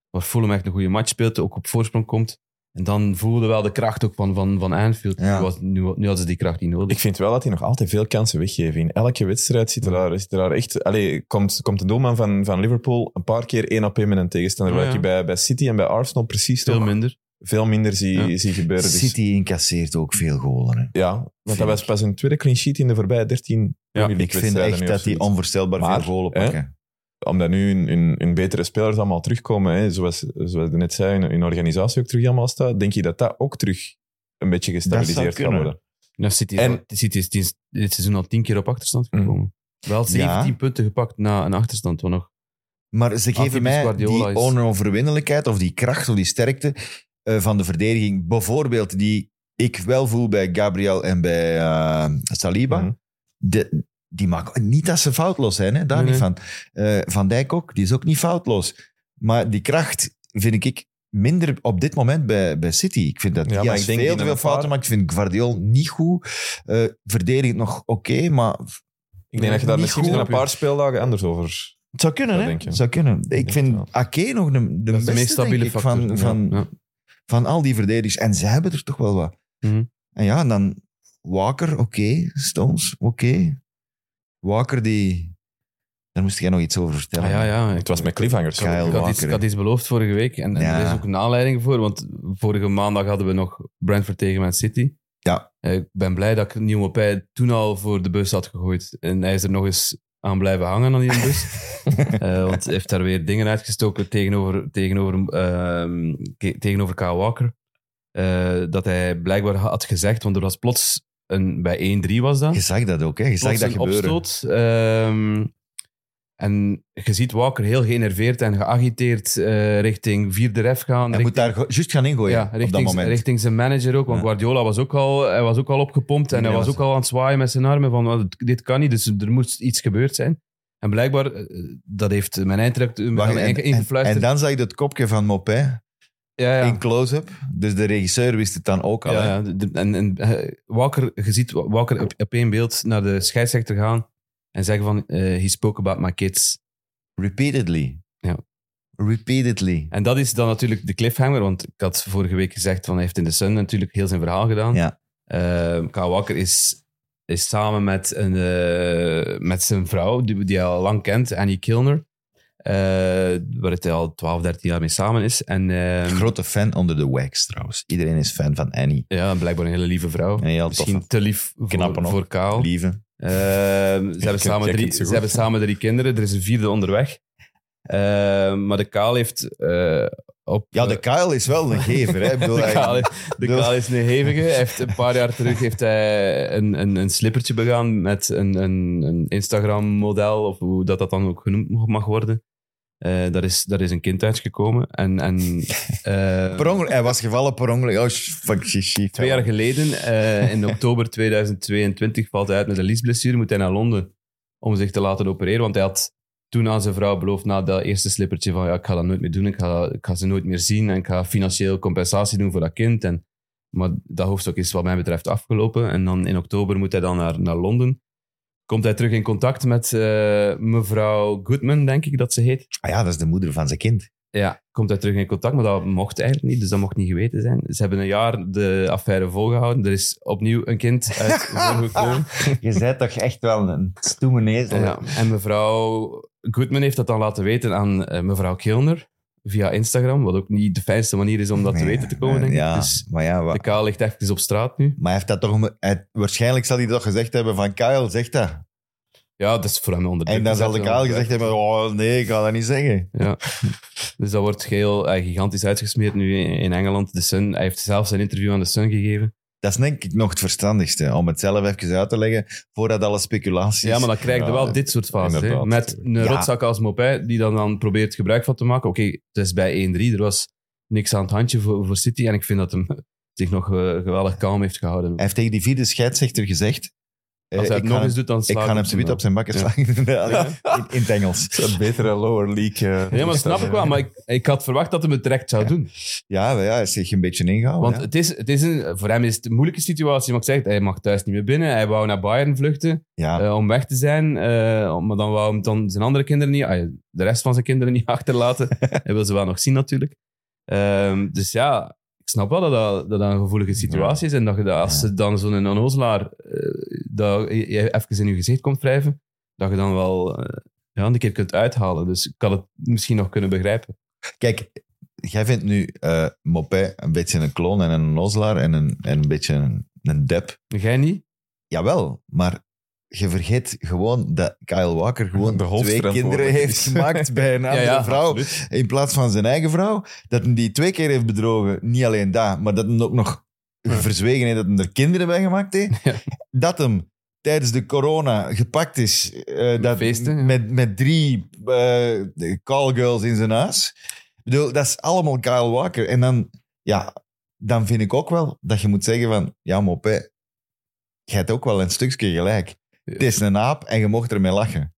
Waar Fulham echt een goede match speelt, ook op voorsprong komt. En dan voelde wel de kracht ook van, van, van Anfield.
Ja.
Nu, was, nu, nu hadden ze die kracht niet nodig.
Ik vind wel dat hij nog altijd veel kansen weggeven. In elke wedstrijd zit er daar, zit er daar echt... Allee, komt, komt de doelman van, van Liverpool een paar keer één op één met een tegenstander.
Ja,
Wat
ja.
je bij, bij City en bij Arsenal precies
Veel
toch
minder.
veel minder zie,
Ja.
zie gebeuren. Dus-
City incasseert ook veel golen. Hè.
Ja, want dat was pas een tweede clean sheet in de voorbije 13
Ja,
Premier League
Ik vind
wedstrijden
echt
nu
dat
of
die
zoiets.
onvoorstelbaar
Maar,
veel golen
hè,
pakken.
Omdat nu hun, hun, hun betere spelers allemaal terugkomen, hè, zoals, zoals ik net zei, hun, hun organisatie ook terug allemaal staat, denk je dat dat ook terug een beetje
Dat
gestabiliseerd
zou
gaat
kunnen.
worden.
Ja, City, is
En-
al- City is tien- dit seizoen al tien keer op achterstand
Mhm.
gekomen. Wel 17
Ja.
punten gepakt na een achterstand. Wat nog
Maar ze geven
Atypisch
mij die
Guardiola is-
onoverwinnelijkheid of die kracht of die sterkte eh, van de verdediging. Bijvoorbeeld die ik wel voel bij Gabriel en bij eh, Saliba.
Mhm.
De, die maken niet dat ze foutloos zijn, hè? daar
Nee,
niet van. Eh, van Dijk ook, die is ook niet foutloos. Maar die kracht vind ik minder op dit moment bij, bij City. Ik vind dat
Ja, maar
Diaz
ik denk
veel
die
te veel
een
fouten
paar-
maakt. Ik vind Guardiol niet goed. Eh verdedigend nog oké, maar
Ik denk dat je daar
Niet
misschien
goed.
in een paar speeldagen anders over...
het zou kunnen,
Dat
hè?
denk je.
Het zou kunnen. Ik
denk
vind
het wel.
Ake nog de, de
dat is
beste,
de meest stabiele
denk ik,
factor.
van,
ja.
van,
Ja.
van al die verdedigers. En ze hebben er toch wel wat.
Mhm.
En ja, en dan Walker, oké. Stones, oké. Walker, die... Daar moest jij nog iets over vertellen.
Ah, ja, ja.
Het was met cliffhangers.
Kyle
Ik had, iets,
Walker,
ik had iets beloofd vorige week en, en
Ja.
er is ook een aanleiding voor, want vorige maandag hadden we nog Brentford tegen Man City.
Ja.
Eh, Ik ben blij dat ik Nieuwe Pij toen al voor de bus had gegooid. En hij is er nog eens aan blijven hangen aan die bus.
(laughs)
Eh, want hij heeft daar weer dingen uitgestoken tegenover, tegenover, ehm, ke- tegenover Kyle Walker. Eh, dat hij blijkbaar had gezegd, want er was plots een, bij 1-3 was
(laughs)
dat
Je zag dat ook, hè? Je zag
plots
dat
een
gebeuren.
opstoot. ehm, en je ziet Walker heel geënerveerd en geagiteerd eh, richting vierde ref gaan.
Hij
richting-
moet daar go- juist gaan ingooien
ja,
op dat
richting,
moment.
richting zijn manager ook. Want
Ja.
Guardiola was ook al, hij was ook al opgepompt en hij
Ja,
was
dat-
ook al aan het zwaaien met zijn armen van "Wat, dit kan niet, dus er moest iets gebeurd zijn. En blijkbaar, eh, dat heeft mijn eindtrek
Wacht, en, en,
ingefluisterd.
en dan zag je het kopje van Mopé
ja, ja.
in close-up. Dus de regisseur wist het dan ook al.
Ja,
hè.
ja, de- de- en, en eh, Walker, je ziet Wa- Walker op, op één beeld naar de scheidsrechter gaan en zeggen van, eh he spoke about my kids.
Repeatedly.
Ja.
Repeatedly.
En dat is dan natuurlijk de cliffhanger, want ik had vorige week gezegd van hij heeft in de Sun natuurlijk heel zijn verhaal gedaan.
Ja.
Eh, Kyle Walker is, is samen met, een, eh, met zijn vrouw, die, die hij al lang kent, Annie Kilner, eh, waar hij al 12, 13 jaar mee samen is. En ehm,
Grote fan onder de wax trouwens. Iedereen is fan van Annie.
ja, blijkbaar een hele lieve vrouw.
Een heel
Misschien
toffe,
te lief voor,
Knappe nog.
voor Kyle.
lieve.
Ehm, ze, hebben samen
kent
drie,
het zo
ze
goed.
hebben samen drie kinderen. Er is een vierde onderweg. Ehm, maar de Kaal heeft eh, op...
Ja, de Kyle is wel een gever. Hè? Ik bedoel,
(laughs) De
hij-
kaal, is- de
bedoel-
kaal is een hevige. Hij heeft een paar jaar terug heeft hij een, een, een slippertje begaan met een, een, een Instagram-model, of hoe dat, dat dan ook genoemd mag worden. Eh, daar, is, daar is een kind uitgekomen. En, en, eh,
Per ongeluk- hij was gevallen per ongeluk. Oh, sh- fuck, shit, shit.
twee jaar geleden, eh, in oktober 2022, valt hij uit met een liesblessure. Moet hij naar Londen om zich te laten opereren. Want hij had toen aan zijn vrouw beloofd, na dat eerste slippertje, van ja, ik ga dat nooit meer doen. Ik ga, ik ga ze nooit meer zien. En ik ga financieel compensatie doen voor dat kind. En, maar dat hoofdstuk is wat mij betreft afgelopen. En dan in oktober moet hij dan naar, naar Londen. Komt hij terug in contact met eh, mevrouw Goodman, denk ik dat ze heet.
Ah ja, dat is de moeder van zijn kind.
Ja, komt hij terug in contact, maar dat mocht eigenlijk niet, dus dat mocht niet geweten zijn. Ze hebben een jaar de affaire volgehouden. Er is opnieuw een kind (laughs) uit voorgekomen.
Je bent toch echt wel een stoeme ezel.
Ja, en mevrouw Goodman heeft dat dan laten weten aan eh, mevrouw Kilner via Instagram, wat ook niet de fijnste manier is om dat te
Nee,
weten te komen, denk ik.
Ja,
Dus
maar ja, wa-
de kaal ligt echt eens op straat nu.
maar hij heeft dat toch... hij- waarschijnlijk zal hij toch gezegd hebben van... Kyle, zeg dat.
Ja, dat is voor hem onder druk Dus
En dan zal
gezet,
de
ja.
Kaal gezegd hebben, oh nee, ik ga dat niet zeggen.
Ja. Dus dat wordt geheel eh, gigantisch uitgesmeerd nu in, in Engeland. De Sun, hij heeft zelf zijn interview aan de Sun gegeven.
Dat is denk ik nog het verstandigste, om het zelf even uit te leggen, voordat alle speculaties...
Ja, maar dan krijg je
Ja,
wel dit soort fases. hè.
inderdaad.
Met een
Ja.
rotzak als Mopé, die dan, dan probeert gebruik van te maken. Oké, het is bij 1-3, er was niks aan het handje voor, voor City. En ik vind dat hem (laughs) zich nog eh, geweldig kalm heeft gehouden.
Hij heeft tegen die vierde scheidsrechter gezegd... eh,
Als hij het
ik
nog
ga
eens
hem-
doet, dan
ik
slaat
ga hem zo op zijn bakken slaan. (laughs) Ja, in, in het Engels.
Een betere lower league.
(laughs)
eh,
Nee, maar dat snap ik wel. Maar ik, ik had verwacht dat hij het direct zou doen.
Ja, maar ja, hij is zich een beetje ingehouden.
Want
ja.
het is, het is een, voor hem is het een moeilijke situatie. Maar ik zeg het, hij mag thuis niet meer binnen. Hij wou naar Bayern vluchten.
ja.
Eh, om weg te zijn. eh, om- maar dan wou hem dan zijn andere kinderen niet, ah ja, de rest van zijn kinderen niet (laughs) achterlaten. Hij wil ze wel nog zien natuurlijk. Ehm, dus ja, ik snap wel dat dat, dat, dat een gevoelige situatie is. En dat je dat, als
Ja.
ze dan zo'n onnozelaar eh, dat je- je even in je gezicht komt wrijven, dat je dan wel eh, ja, een keer kunt uithalen. Dus ik had het misschien nog kunnen begrijpen.
Kijk, jij vindt nu eh Mopé een beetje een kloon en een nozelaar en een, en een beetje een, een dep.
Jij niet?
Jawel, maar je vergeet gewoon dat Kyle Walker gewoon
De
twee kinderen
hoofdverantwoordelijke
heeft
is.
(laughs)
gemaakt bij een andere vrouw.
absoluut.
In plaats van zijn eigen vrouw. Dat hij die twee keer heeft bedrogen. Niet alleen dat, maar dat hij ook nog verzwegen heeft dat hij er kinderen bij gemaakt heeft.
Ja.
Dat hem tijdens de corona gepakt is. eh, dat
feesten, ja.
met, met drie eh callgirls in zijn huis. Ik bedoel, dat is allemaal Kyle Walker. En dan, ja, dan vind ik ook wel dat je moet zeggen van... Ja, Mopé, je hebt ook wel een stukje gelijk. Het is een aap en je mocht ermee lachen.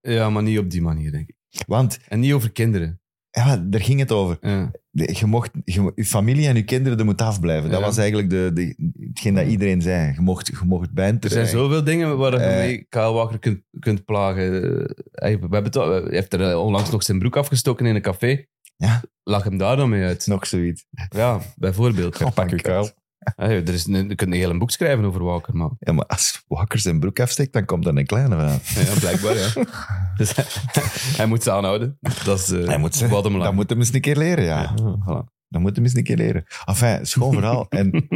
Ja, maar niet op die manier, denk ik.
Want
En niet over kinderen.
ja, daar ging het over.
Ja.
De- je, mocht, je, mo- je familie en je kinderen er moet afblijven. Dat
Ja.
was eigenlijk de, de, hetgeen dat iedereen zei. Je mocht, je mocht bij een
Er zijn
terrein.
zoveel dingen waar je
Eh.
mee Kyle Walker kunt, kunt plagen. Eh, Hij, we hebben het al- hij heeft er eh, onlangs nog zijn broek afgestoken in een café.
Ja.
Lach hem daar dan mee uit.
Nog zoiets.
Ja, bijvoorbeeld.
Oh, pak je kuil.
Hey, er is een, je kunt een heel boek schrijven over Walker, man.
Ja, maar als Walker zijn broek afsteekt, dan komt er een kleine aan.
Ja, blijkbaar,
(laughs)
ja. Dus (laughs) hij, hij moet ze aanhouden. Dat is de
Hij moet ze-
bottom line.
Dat moet hem eens een keer leren, ja.
Ja, voilà.
Dat moet hem eens een keer leren. Enfin, schoon verhaal. en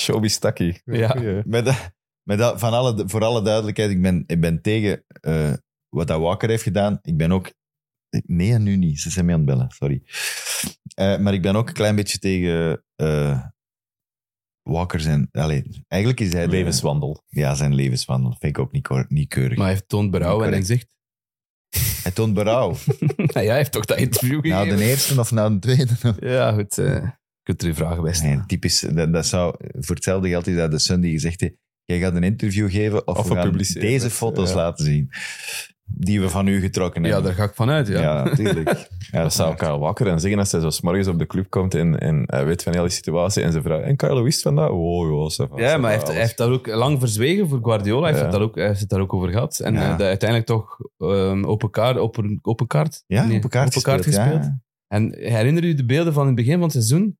Showbiz Taki.
Ja.
Goeie.
met dat, met dat, van alle, voor alle duidelijkheid, ik ben, ik ben tegen eh, wat dat Walker heeft gedaan. Ik ben ook... Nee en nu niet. Ze zijn mee aan het bellen, sorry. Eh, maar ik ben ook een klein beetje tegen eh, Walker zijn... Allee, eigenlijk is hij... de-
Levenswandel.
ja, zijn levenswandel. Vind ik ook niet, koor- niet keurig.
Maar hij heeft toont berouw en hij
Correct.
zegt... (laughs)
Hij toont berouw.
Nou ja, hij heeft toch dat interview
nou,
gegeven.
de eerste of nou de tweede.
Ja, goed. eh, je kunt er je vragen bij stellen.
Nee, typisch. Dat, dat zou, voor hetzelfde geld is dat de Sun die gezegd heeft, jij gaat een interview geven of,
Of
we
we
gaan
publiceren
deze
het,
foto's
ja.
laten zien. Die we van u getrokken
Ja,
hebben.
daar ga ik vanuit, ja.
Ja, natuurlijk. Ja,
Dat zou Kyle Walker dan zeggen als hij zo 's morgens op de club komt en, en hij weet van heel die situatie en ze vraagt, en Kyle, wist van dat? Oh, joh, ça va,
Ja,
ça
maar hij
va,
heeft, hij
alles
heeft dat ook lang verzwegen voor Guardiola. Hij, heeft
Ja.
dat ook, hij heeft het daar ook over gehad. En
Ja.
eh, dat uiteindelijk toch ehm open, kaart, open, open kaart?
Ja,
Nee,
op elkaar gespeeld, ja.
En herinner u de beelden van het begin van het seizoen?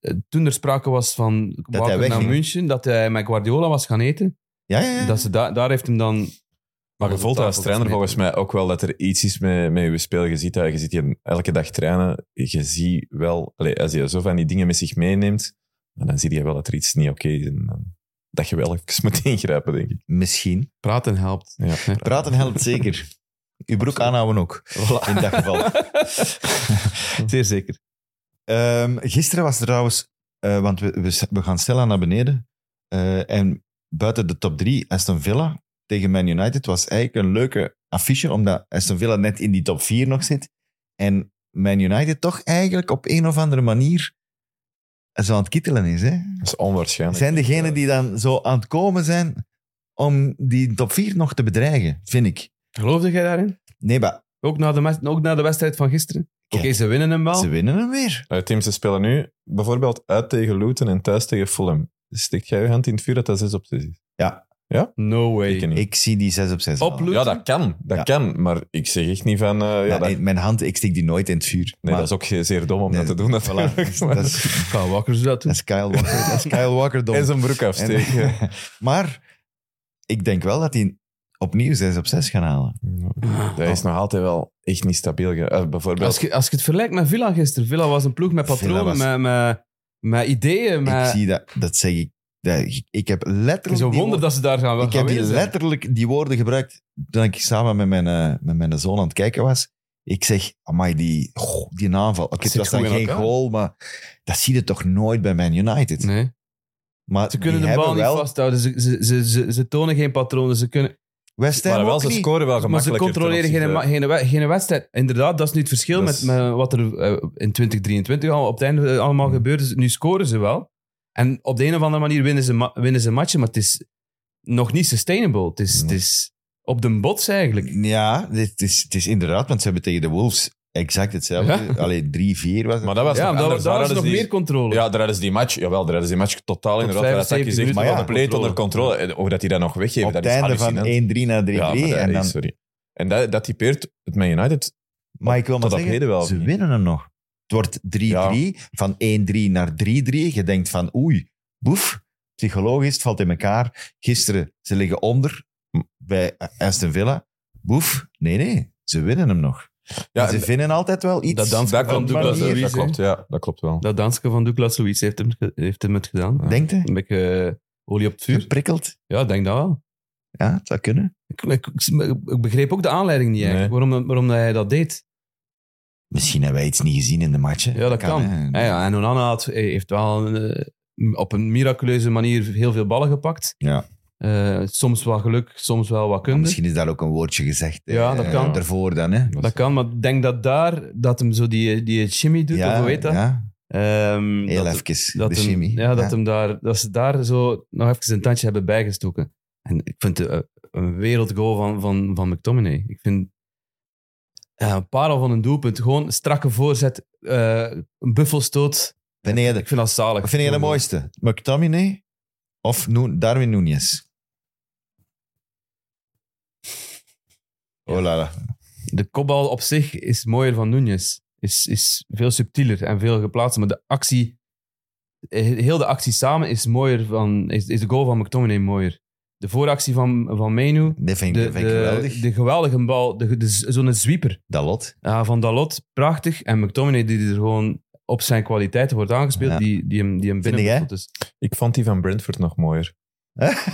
Eh, Toen er sprake was van
hij
Walker naar
wegging.
München, dat hij met Guardiola was gaan eten.
Ja, ja, ja.
Dat ze da- daar heeft hem dan...
Maar je voelt als trainer volgens mij ook wel dat er iets is met, met je spel. Je ziet, dat, je ziet hier elke dag trainen. Je ziet wel, allee, als je zo van die dingen met zich meeneemt, dan zie je wel dat er iets niet oké is. En dan- dat je wel even moet (laughs) ingrijpen, denk ik.
Misschien.
Praten helpt.
Ja.
Nee.
Praten helpt zeker. Uw broek aanhouden ook, in dat geval.
Zeer zeker.
Ehm, gisteren was er trouwens, eh, want we, we, we gaan Stella naar beneden. Eh, en buiten de top drie, Aston Villa tegen Man United was eigenlijk een leuke affiche, omdat Aston Villa net in die top vier nog zit. En Man United toch eigenlijk op een of andere manier zo aan het kittelen is. Hè?
Dat is onwaarschijnlijk.
Zijn
eh,
degenen die dan zo aan het komen zijn om die top vier nog te bedreigen, vind ik.
Geloofde jij daarin?
Nee, maar
Ook na de, mes- ook na de wedstrijd van gisteren? Oké,
Kijk.
ze winnen hem wel.
ze winnen hem weer.
Eh, Tim, ze spelen nu bijvoorbeeld uit tegen Luton en thuis tegen Fulham. Steekt jij je hand in het vuur dat dat 6 op 6 is?
No
Ik
way.
niet.
Ik zie die 6 op 6.
Op Luton?
Ja, dat kan. Dat
Ja.
kan. Maar ik zeg echt niet van... eh, ja, dat, nee,
Mijn hand, ik stik die nooit in het vuur. Maar-
dat is ook ge- zeer dom om
Nee,
dat te doen.
Voilà.
natuurlijk.
(laughs) Dat is,
Kan Walker zo dat doen?
dat is Kyle Walker. Dat is Kyle Walker dom.
(laughs) En zijn broek
En-
afsteken. (laughs)
(laughs) maar ik denk wel dat hij opnieuw 6 op 6 gaan halen. Ah,
Dat is nog altijd wel echt niet stabiel. ge- eh, bijvoorbeeld,
Als je, als je het vergelijkt met Villa gisteren. Villa was een ploeg met
Villa
patronen,
was-
met, met, met ideeën. Met...
Ik zie dat, dat zeg ik. dat- ik- ik heb
het is
letterlijk.
een
die
wonder
woorden-
dat ze daar gaan wel
ik heb
gaan
die
winnen zijn.
letterlijk die woorden gebruikt toen ik samen met mijn, eh, met mijn zoon aan het kijken was. Ik zeg, amai, die, goh, die aanval. Oké, het
zit
was dan
goed in
geen
elkaar.
goal, maar dat zie je toch nooit bij Man United.
Nee.
Maar
Ze kunnen
die
de bal
hebben
niet
wel,
vasthouden. Ze, ze, ze, ze, ze tonen geen patronen. Ze, kunnen,
West Ham
maar wel,
ook
ze
niet.
scoren wel
maar ze
gemakkelijker.
controleren
ten
geen, ma-
opzichte-
geen, we- geen wedstrijd. Inderdaad, dat is nu het verschil
Dat
met,
is-
met wat er eh, in 2023 al op het einde eh, allemaal gebeurd is. Nu scoren ze wel. En op de een of andere manier winnen ze, ma- winnen ze matchen, maar het is nog niet sustainable. Het is, het is op de bots eigenlijk.
Ja, dit is, het is inderdaad, want ze hebben tegen de Wolves exact hetzelfde.
Ja.
Alleen 3-4 was het.
Maar dat was
Ja,
nog
daar,
anders.
daar is
hadden
nog
ze die-
meer controle.
Ja, daar hadden ze die match, jawel, daar hadden ze die match totaal inderdaad. Daar had
75
Saki zegt,
minuten
maar
wel
ja, compleet
controle.
onder controle. En Of dat die dat nog weggeven,
op
dat
het
is
einde van 1-3
hallucinant.
naar 3-3.
Ja, maar dat
en dan,
is- sorry. En dat, dat typeert het Man United.
maar ik wil maar
tot op
zeggen,
heden wel,
ze
of niet?
winnen hem nog. Het wordt 3-3, van 1-3 naar 3-3. Je denkt van oei, boef, psychologisch, het valt in elkaar. Gisteren, ze liggen onder bij Aston Villa. Boef, nee, nee, ze winnen hem nog.
Ja,
ze
en-
vinden altijd wel iets.
Dat dansen
dat
van
klopt,
Douglas
dat,
manier.
Luiz,
dat
hè.
klopt, ja, dat klopt wel.
Dat dansje van Douglas Luiz heeft hem, ge- heeft hem het gedaan.
Denkt hè?
Een beetje eh, olie op het vuur.
Geprikkeld.
Ja, ik denk dat wel.
Ja, het zou kunnen.
Ik, ik, ik- ik begreep ook de aanleiding niet eigenlijk,
Nee.
waarom, waarom dat hij dat deed.
Misschien hebben wij iets niet gezien in de match. hè.
Ja, dat kan.
hè.
Ja, ja, en Onana had, hij heeft wel een, eh, op een miraculeuze manier heel veel ballen gepakt.
Ja.
Eh, soms wel geluk, soms wel wat kunde.
Misschien is daar ook een woordje gezegd. eh,
Ja, dat kan.
Daarvoor dan, hè.
dat kan, maar ik denk dat daar, dat hem zo die, die shimmy doet, of
ja,
hoe heet dat?
Ja,
Ehm,
heel
dat-
even,
dat
de
hem-
chemie.
ja, dat, Hem daar, dat ze daar zo nog even een tandje hebben bijgestoken. En ik vind het eh, een wereldgoal van, van, van McTominay. Ik vind Ja, een parel van een doelpunt. Gewoon een strakke voorzet, eh, een buffelstoot.
Vind jij de,
Ik vind dat zalig.
wat vind jij de mooiste? McTominay of Nu- Darwin Nunez? Oh la la.
De kopbal op zich is mooier van Nunez. Is, is veel subtieler en veel geplaatst. Maar de actie, eh, heel de actie samen is mooier van, is, is de goal van McTominay mooier. De vooractie van, van Menu,
Dat vind ik,
de,
dat vind ik geweldig.
de, de geweldige bal, de, de, zo'n zwieper
dat lot.
ja, van Dalot, prachtig. En McTominay die er gewoon op zijn kwaliteiten wordt aangespeeld,
Ja.
die, die hem, die hem
Vind
binnen
jij?
Dus
Ik vond die van Brentford nog mooier.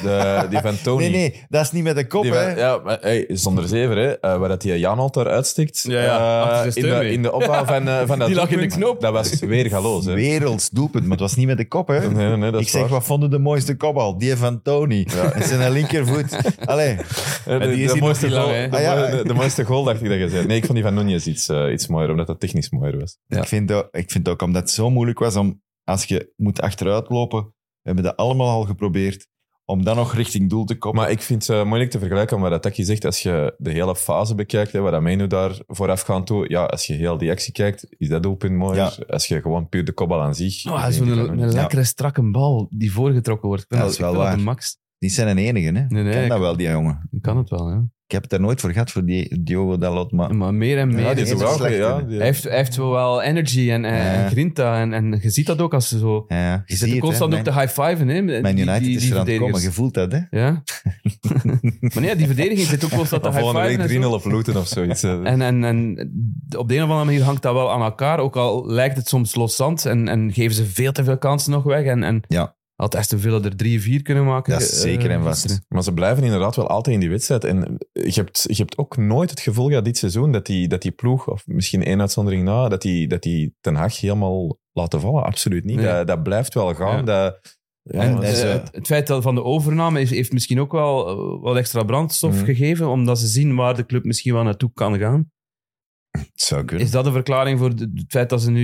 De, die
(laughs)
van Tony.
Nee, nee, dat is niet met de kop,
Oh, Die
hè.
van- ja, maar hey, zonder zeven, hè. Eh, waar dat die Janholt daar uitstikt.
Ja, ja,
eh,
achter zijn
in,
steun
de,
mee.
in de opbouw
(laughs)
van, eh, van dat
Die lag in de
doelpunt.
knoop.
Dat was weer galoos, hè.
Werelds doelpunt, maar het was niet met de kop, hè.
(laughs) Nee, nee, nee, dat
Ik
is
zeg,
waar.
wat vonden de mooiste kopbal? Die van Tony. (laughs) Met zijn linkervoet. Allee,
Eh,
die is hier nog niet
goal,
lang, hè.
de,
Ah, ja.
de- de mooiste goal dacht ik dat je zei. Nee, ik vond die van Nunez iets, eh, iets mooier, omdat dat technisch mooier was.
Ja.
ik, vind ook, ik vind ook omdat het zo moeilijk was om, als je moet achteruit lopen, we hebben dat allemaal al geprobeerd, om dan nog richting doel te komen.
Maar ik vind het eh, moeilijk te vergelijken met wat Taki zegt. Als je de hele fase bekijkt, hè, waar dat Menu daar voorafgaand toe... Ja, als je heel die actie kijkt, is dat doelpunt mooier. Als je gewoon puur de kopbal aan zich...
Oh,
is
Zo'n
die van
een,
Nunez.
lekkere, strakke bal die voorgetrokken wordt. Ik vind
Ja,
dat
dat is wel
ik vind dat
waar.
de max.
Die zijn een enige, hè.
Nee, nee,
Ken dat
ik-
wel, die jongen.
Ik kan het wel, ja.
Ik heb het er nooit voor gehad, voor die Diogo Dalot, maar...
Maar meer en meer.
Ja,
Ja, die
is
is
een
ook wel goed,
slechte.
ja. Die-
hij, heeft, hij heeft wel wel energy en, en,
Ja.
en grinta. En, en je ziet dat ook als ze zo...
Ja, je
Je
ziet
zit
het,
constant
hè.
ook te high-fiven, hè. met
Man
die-
United
die-
is
die
er aan het komen,
verdedigers.
je voelt dat, hè.
Ja. (laughs) maar nee, die verdediging zit ook
(laughs)
constant te
Maar volgende
high-fiven.
week
en
3-0
zo.
op Luton of zoiets. eh.
En, en, en op de een of andere manier hangt dat wel aan elkaar. Ook al lijkt het soms loszand en, en geven ze veel te veel kansen nog weg. En, en
Ja.
had Aston Villa er drie, vier kunnen maken.
Dat is
eh,
zeker en vast.
gisteren.
Maar ze blijven inderdaad wel altijd in die wedstrijd. En je hebt, je hebt ook nooit het gevoel gehad dit seizoen dat die, dat die ploeg, of misschien één uitzondering na, dat die, dat die Ten Hag helemaal laten vallen. Absoluut niet.
Nee.
Dat, dat blijft wel gaan.
Ja.
Dat, ja,
En
dat is,
eh,
eh,
het, het feit dat van de overname is, heeft misschien ook wel eh, wat extra brandstof
Mhm.
gegeven, omdat ze zien waar de club misschien wel naartoe kan gaan.
Het zou kunnen.
Is dat een verklaring voor de- het feit dat ze nu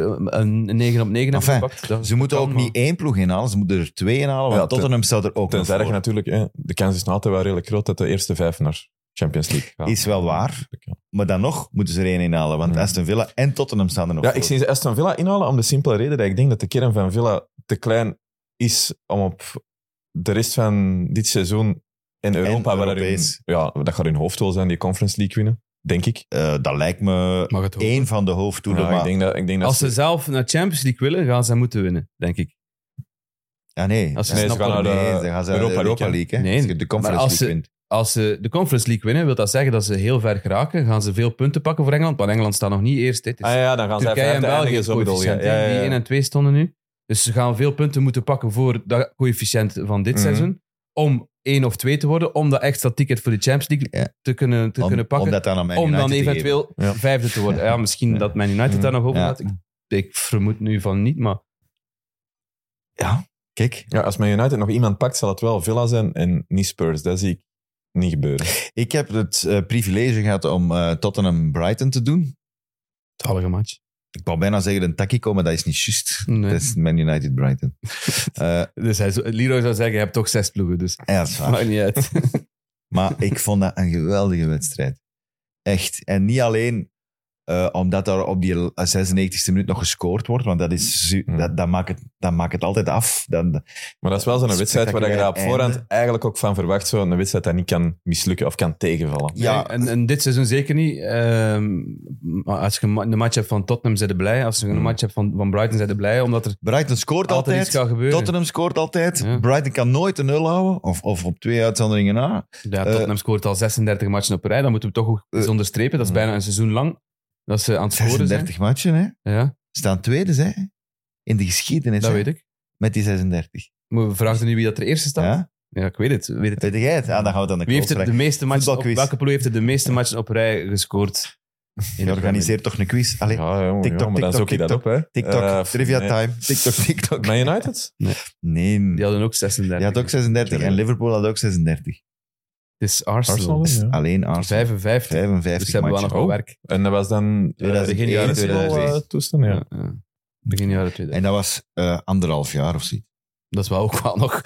eh, een een 9 op 9 hebben
Enfin,
gepakt? Dat
Ze moeten
kan,
ook
maar-
niet één ploeg inhalen, ze moeten er twee inhalen, want
Ja, ten-
Tottenham staat er ook nog
tenzij dat je
voor.
natuurlijk, eh, de kans is nog altijd wel redelijk groot dat de eerste vijf naar Champions League gaat.
Is wel waar,
Ja.
maar dan nog moeten ze er één inhalen, want
Hmm.
Aston Villa en Tottenham staan er nog
Ja,
voor.
ik zie ze Aston Villa inhalen om de simpele reden dat ik denk dat de kern van Villa te klein is om op de rest van dit seizoen in Europa... waar dat hun-
Europees.
ja, dat gaat hun hoofddoel zijn, die Conference League winnen, denk ik.
Eh, dat lijkt me
Mag het
één van de hoofddoelen.
Ja,
maar...
ik denk dat, ik denk dat
Als ze zelf naar Champions League willen, gaan ze moeten winnen, denk ik.
Ja, Ah, nee.
Als ze-
Ja,
Nee, ze
snappen
gaan
we.
naar de
Nee, ze gaan ze naar de
Europa
Europa League.
League,
hè.
Nee,
Als je de Conference
maar als
League
ze-
wint.
Als ze de Conference League winnen, wil dat zeggen dat ze heel ver geraken. Gaan ze veel punten pakken voor Engeland, want Engeland staat nog niet eerst. hè. Het is
Ah ja, dan gaan zij
Turkije en
vijfde
België
eindigen,
is
zo bedoel je.
coëfficiënt. hè. Die 1 en 2 stonden nu. Dus ze gaan veel punten moeten pakken voor dat coëfficiënt van dit
Mhm.
seizoen. Om 1 of 2 te worden. Om dat extra ticket voor de Champions League
Ja.
te kunnen, te
Om-
kunnen pakken.
Om
Om,
dat dan aan Man United
dan
te geven. Mhm.
eventueel
Ja.
vijfde te worden. Ja, misschien
Ja.
dat Man United daar nog over
Ja.
gaat. Ik, ik vermoed nu van niet, maar...
Kijk,
Ja, als Man United nog iemand pakt, zal het wel Villa zijn en niet Spurs. Dat zie ik niet gebeuren.
ik heb het eh, privilege gehad om eh, Tottenham-Brighton te doen.
Talige match.
Ik wou bijna zeggen een takkie komen, maar dat is niet juist.
Nee.
Dat is Man
(laughs)
United-Brighton. Eh,
Dus hij, zou- Leroy zou zeggen, je hebt toch zes ploegen, dus
ja, dat is waar.
maakt niet uit.
Maar ik vond dat een geweldige wedstrijd. Echt. En niet alleen eh, omdat daar op die 96e minuut nog gescoord wordt, want dat, is, su-
Hmm.
dat, dat, maakt, het, dat maakt het altijd af. Dan,
Maar dat is wel zo'n wedstrijd waar je daar op
Spectaculair
voorhand
einde.
eigenlijk ook van verwacht. Zo'n wedstrijd dat niet kan mislukken of kan tegenvallen.
Ja.
Nee, en, en dit seizoen zeker niet. Ehm, maar als je een ma- een match hebt van Tottenham, zijn ze blij. Als je een
Hmm.
match hebt van, van Brighton, zijn ze blij. Omdat er
Brighton scoort
altijd,
altijd.
iets gaat gebeuren.
Tottenham scoort altijd.
Ja.
Brighton kan nooit een nul houden. Of, of op twee uitzonderingen na.
ja, Tottenham scoort al 36 matchen op rij. Dan moeten we toch ook eens
Eh.
onderstrepen. Dat is
Hmm.
bijna een seizoen lang dat ze aan het scoren zijn.
36 matchen, hè.
Ja,
Staan tweede, hè. In de geschiedenis,
dat
hè,
weet ik.
Met die 36.
Maar we vragen nu wie dat er eerste staat. Ja,
Ja?
ik weet het. ik Weet het.
Weet jij het? Ah, dan gaan we het aan de
Wie heeft
klok
er de
trekken.
meeste matchen op,
Voetbalquiz.
welke ploeg heeft er de meeste matchen op rij
(laughs)
gescoord?
Je organiseert toch een quiz? Allee,
Ja, ja, maar
TikTok,
ja, maar dan
TikTok,
zoek je dat op,
TikTok,
hè.
TikTok,
Eh,
trivia
nee. (laughs)
time. TikTok, (laughs) TikTok.
Man United?
Nee.
Die hadden ook 36.
Die had ook 36 en Liverpool had ook 36.
Het is Arsenal.
Arsenal?
Dat is
Ja.
alleen Arsenal.
55.
55
Dus ze hebben wel nog
matchen. Oh.
wel werk.
En dat was dan... eh,
2001,
de eerste
2006.
wel, eh, toestand, ja.
Ja, ja. Begin jaren 2000.
En dat was eh, anderhalf jaar of zoiets.
Dat is wel ook wel (laughs) nog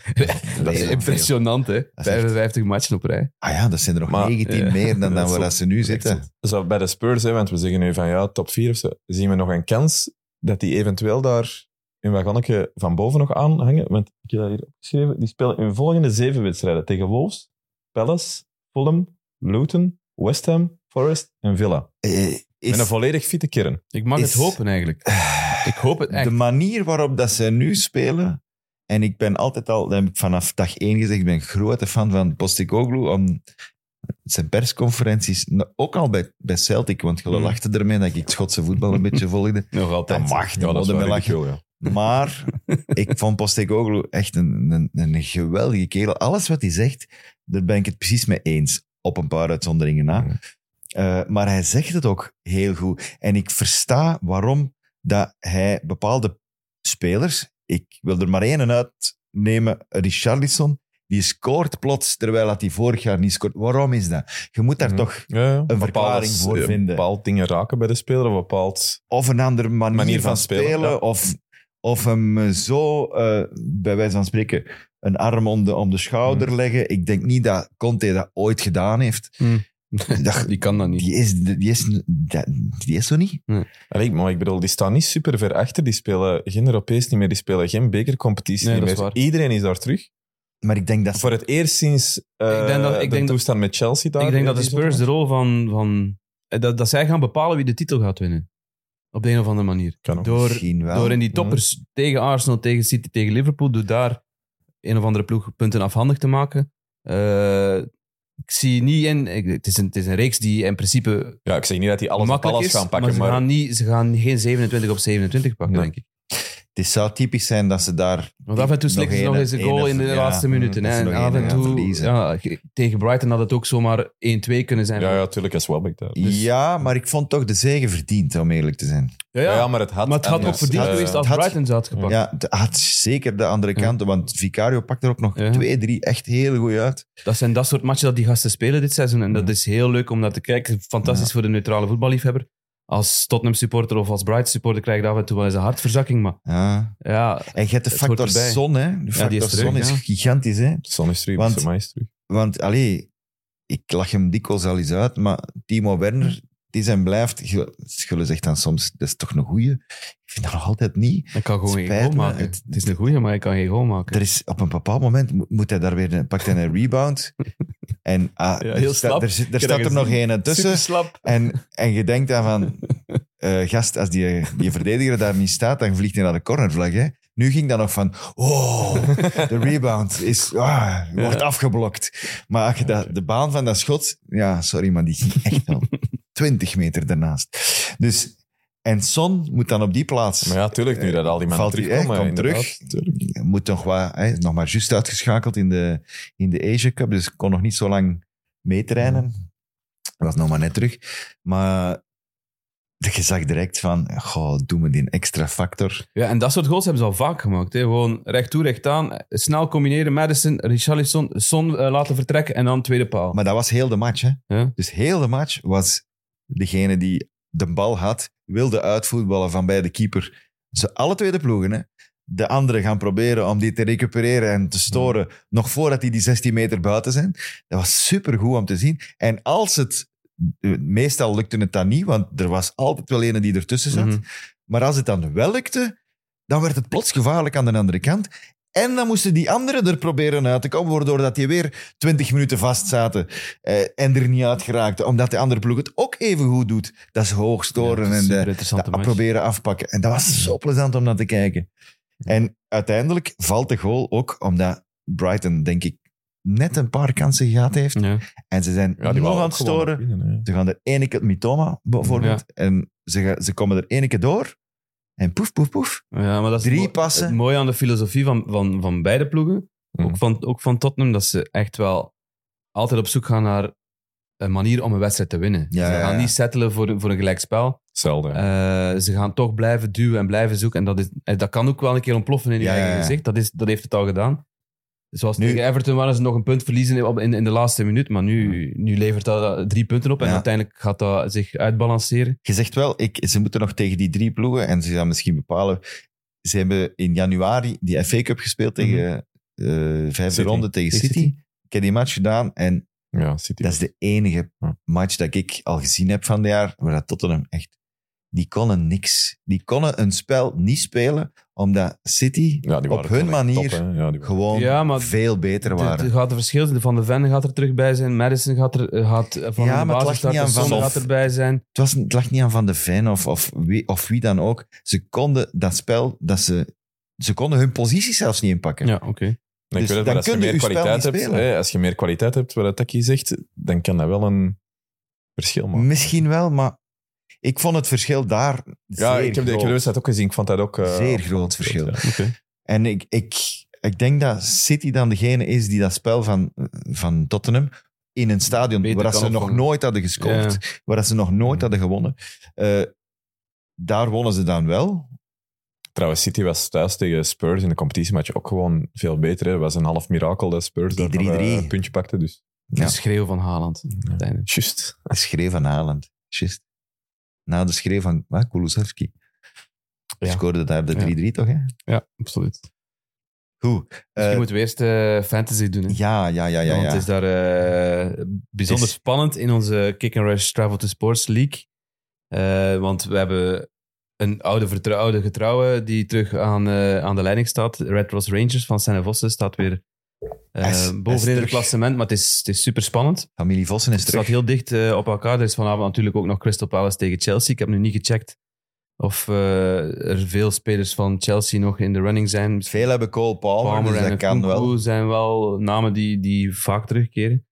Dat is
impressionant, hè?
echt-
55 matchen op rij.
Ah ja, dat zijn er nog
Maar-
19
Ja.
meer dan,
Dat
dan
is
waar
ook
dat ze
(laughs)
nu zitten.
Zo bij de Spurs, hè, want we zeggen nu van ja, top 4 of zo, zien we nog een kans dat die eventueel daar hun wagonnetje van boven nog aan hangen. Want ik heb dat hier opgeschreven. Die spelen hun volgende zeven wedstrijden tegen Wolves, Palace, Fulham, Luton, West Ham, Forest en Villa.
Eh,
Met een
Is
volledig fitte kern.
Ik mag
Is-
het hopen, eigenlijk.
(sighs)
Ik hoop het echt.
de manier waarop dat ze nu spelen... En ik ben altijd al, dat heb ik vanaf dag één gezegd, ik ben een grote fan van Postecoglou. Om zijn persconferenties, nou, ook al bij, bij Celtic, want je
Hmm.
lachte ermee dat ik het Schotse voetbal een beetje volgde.
Nog altijd.
(laughs) Dat mag, dat moet me lachen. (laughs) Maar ik vond Postecoglou echt een, een, een geweldige kerel. Alles wat hij zegt, daar ben ik het precies mee eens. Op een paar uitzonderingen na.
Mhm.
Eh, maar hij zegt het ook heel goed. En ik versta waarom dat hij bepaalde spelers... Ik wil er maar één uitnemen, Richarlison. Die scoort plots, terwijl dat hij vorig jaar niet scoort. Waarom is dat? Je moet daar
Mhm.
toch
Ja, ja.
een verklaring
Bepaalde-
voor vinden
Bepaald dingen raken bij de speler, of bepaald...
of een andere manier,
Manier
van,
van
spelen,
spelen, ja.
of, of hem eh, zo, eh, bij wijze van spreken, een arm om de, om de
Mhm.
schouder leggen. Ik denk niet dat Conte dat ooit gedaan heeft.
Mhm.
Hmm.
Dat-
Die kan dat niet.
die, is, die, is, dat- die is zo niet.
Allee, maar ik bedoel, die staan niet super ver achter. Die spelen geen Europees niet meer, die spelen geen bekercompetitie
Nee,
niet
dat is
meer.
waar.
Iedereen is daar terug.
Maar ik denk dat
Voor het eerst sinds eh,
Ik denk dat- ik
de
denk dat-
toestand met Chelsea daar.
ik denk dat de
die
Spurs de
zondag-
rol van... van eh, dat, dat zij gaan bepalen wie de titel gaat winnen. Op de een of andere manier.
Kan ook.
Door,
misschien wel...
door in die toppers tegen Arsenal, tegen City, tegen Liverpool, door daar een of andere ploeg punten afhandig te maken. Eh, ik zie niet in... ik- het, is een, het is een reeks die in principe
Ja, ik zeg niet dat die alles, op
makkelijk
alles
is,
gaan
maar
pakken,
ze,
maar,
Gaan niet, ze gaan geen 27 op 27 pakken,
Nee.
denk ik.
Het zou typisch zijn dat ze daar...
Want af en toe
Nog
slikken ze
één-
nog eens een
één
goal
of-
in de
ja,
laatste minuten.
dat
Hè.
ze
En
nog één
af en
gaan
toe,
verliezen.
ja, ge- tegen Brighton had het ook zomaar 1-2 kunnen zijn.
ja, ja, tuurlijk is Welbeck daar.
Dus-
Ja, maar ik vond toch de zege verdiend, om eerlijk te zijn.
Ja, ja.
Ja, maar het had,
Maar het had
anders.
ook verdiend
Eh,
geweest als
het had-
Brighton ze had gepakt.
Ja, ah, het had zeker de andere
Ja.
kant, want Vicario pakt er ook nog
Ja.
twee, drie echt heel goed uit.
Dat zijn dat soort matchen dat die gasten spelen dit seizoen. En dat is heel leuk om naar te kijken. Fantastisch voor de neutrale voetballiefhebber. Als Tottenham supporter of als Brighton supporter krijg je af en toe wel eens een hartverzakking. Maar
Ja.
ja,
En je hebt de
Het hoort
factor
erbij.
zon, hè. De
is
factor
terug,
zon is
ja.
gigantisch, hè.
De zon is terug,
Want-
de zon is terug.
Want, allee, ik lach hem dikwijls al eens uit, maar Timo Werner, die zijn blijft... Ge- Schullen zegt dan soms, dat is toch een goeie? Ik vind dat nog altijd niet.
ik kan gewoon geen
Spijt
goal
me,
maken.
het-
Het, is een goeie, maar ik kan geen goal maken.
Er is, op een bepaald moment mo- moet hij daar weer... Een, pakt hij een rebound. En ah,
Ja,
er
heel
staat-
slap.
er, zit- er
Ik heb
staat
dat
er nog
gezien.
een tussen.
slap.
En, en je denkt dan van... eh, gast, als die, die verdediger daar niet staat, dan vliegt hij naar de cornervlag. Hè? Nu ging dat nog van... Oh, de rebound is, ah, wordt afgeblokt. Maar als je dat, de baan van dat schot... Ja, sorry, maar die ging echt wel 20 meter daarnaast. Dus... En Son moet dan op die plaats...
Maar ja, tuurlijk, nu dat al die mannen
Eh, Valt hij echt,
terugkomen.
komt
inderdaad. Tuurlijk.
Moet nog, wat, hè, nog maar juist uitgeschakeld in de, in de Asia Cup. Dus kon nog niet zo lang meetrainen. Was nog maar net terug. Maar je zag direct van... Goh, doe me die extra factor.
Ja, en dat soort goals hebben ze al vaak gemaakt. Hè. Gewoon recht toe, recht aan. Snel combineren. Madison, Richarlison, Son eh, laten vertrekken en dan tweede paal.
Maar dat was heel de match, hè?
Ja.
Dus heel de match was degene die de bal had, wilde uitvoetballen van bij de keeper. Ze alle twee de ploegen, hè? De anderen gaan proberen om die te recupereren en te storen, nog voordat die die 16 meter buiten zijn. Dat was supergoed om te zien. En als het... eh, Meestal lukte het dan niet, want er was altijd wel ene die ertussen zat.
Mhm.
Maar als het dan wel lukte, dan werd het plots gevaarlijk aan de andere kant. En dan moesten die anderen er proberen uit te komen, waardoor dat die weer twintig minuten vast zaten eh, en er niet uit geraakten. Omdat de andere ploeg het ook even goed doet. Dat is hoog storen
Ja,
en eh, de,
superinteressante
de
match.
proberen afpakken. En dat was zo plezant om naar te kijken. En uiteindelijk valt de goal ook omdat Brighton, denk ik, net een paar kansen gehad heeft.
Ja.
En ze zijn
Ja, die
nog
wou
aan
ook
het
gewoon
storen.
winnen, hè.
Ze gaan er ene keer Mitoma bijvoorbeeld. En ze, gaan- ze komen er ene keer door. En poef, poef, poef.
Ja, maar dat is
Drie
het mo-
passen.
Het mooie aan de filosofie van, van, van beide ploegen,
Mhm.
ook, van, ook van Tottenham, dat ze echt wel altijd op zoek gaan naar een manier om een wedstrijd te winnen.
Ja,
ze
ja,
gaan
ja.
niet settelen voor, voor een gelijkspel.
Zelden. hè.
Eh, ze gaan toch blijven duwen en blijven zoeken. En dat, is, eh, dat kan ook wel een keer ontploffen in je
Ja,
eigen
ja, ja.
gezicht. Dat, is, dat heeft het al gedaan. Zoals
Nu-
tegen Everton waren ze nog een punt verliezen in- op- in, in de laatste minuut. Maar nu, nu levert dat eh, drie punten op. En
Ja.
uiteindelijk gaat dat zich uitbalanceren.
Je zegt wel, ik, ze moeten nog tegen die drie ploegen. En ze gaan misschien bepalen. Ze hebben in januari die FA Cup gespeeld tegen eh, vijfde
City.
ronde tegen
Tegen
City. Ik heb die match gedaan en
Ja, City.
Eh, dat is de enige
Ja.
match dat ik al gezien heb van het jaar, waar dat Tottenham echt... Die konden niks. Die konden een spel niet spelen, omdat City
ja, die
op
waren
hun
gewoon echt
manier
top, hè. ja, die waren-
gewoon
Ja, maar
veel beter
Het
waren.
het gaat de verschil zijn. Van de Ven gaat er terug bij zijn. Madison gaat er eh, gaat eh, van
Ja, maar
de
het lag
basis
niet aan
starten.
Van
Son
de-
gaat erbij zijn.
het, was, het lag niet aan Van de Ven of, of, wie, of wie dan ook. Ze konden dat spel, dat ze, ze konden hun positie zelfs niet inpakken.
Ja, oké.
Nee,
Dus
ik weet het,
dan
maar als je
kun je
meer
uw spel
kwaliteit
niet
hebt,
spelen.
hè, als je meer kwaliteit hebt, wat Taki zegt, dan kan dat wel een verschil maken.
Misschien wel, maar ik vond het verschil daar
Ja,
zeer
ik heb, de, ik heb de
groot.
wedstrijd ook gezien. Ik vond dat ook... eh,
Zeer groot verschil.
Ja.
(laughs)
En ik, ik, ik denk dat City dan degene is die dat spel van, van Tottenham in een stadion
Beter
waar dat
kan
ze nog
opvangen.
nooit hadden gescoord, waar dat ze nog nooit hadden gewonnen, eh, daar wonnen ze dan wel.
Trouwens, City was thuis tegen Spurs in de competitiematch ook gewoon veel beter. hè. Het was een half mirakel dat Spurs
Die
daar nog, eh,
3-3.
een puntje pakte. Dus.
Ja.
De schreeuw van Haaland. Uiteindelijk.
Juist.
De schreef van Haaland. Just. Na de schreef van ah, Kulusevski.
Ja.
Scoorde daar de 3-3 toch? Hè?
Ja, absoluut. Misschien
Goed. Eh,
moeten we eerst eh, fantasy doen. Hè?
ja, ja, ja, ja.
Want
ja.
het is daar eh, bijzonder
Het is-
spannend in onze Kick and Rush Travel to Sports League. Eh, want we hebben een oude, vertrou- oude getrouwe die terug aan, eh, aan de leiding staat. Red Ross Rangers van Senevosse staat weer eh,
Hij is- hij is
bovenin het
terug.
klassement. Maar het is, het is super spannend.
Familie Vossen is
Het staat
terug.
heel dicht eh, op elkaar. Er is vanavond natuurlijk ook nog Crystal Palace tegen Chelsea. Ik heb nu niet gecheckt of eh, er veel spelers van Chelsea nog in de running zijn. Misschien
Veel hebben Cole Palmer, dus dat kan
Nkunku
wel.
zijn wel namen die, die vaak terugkeren.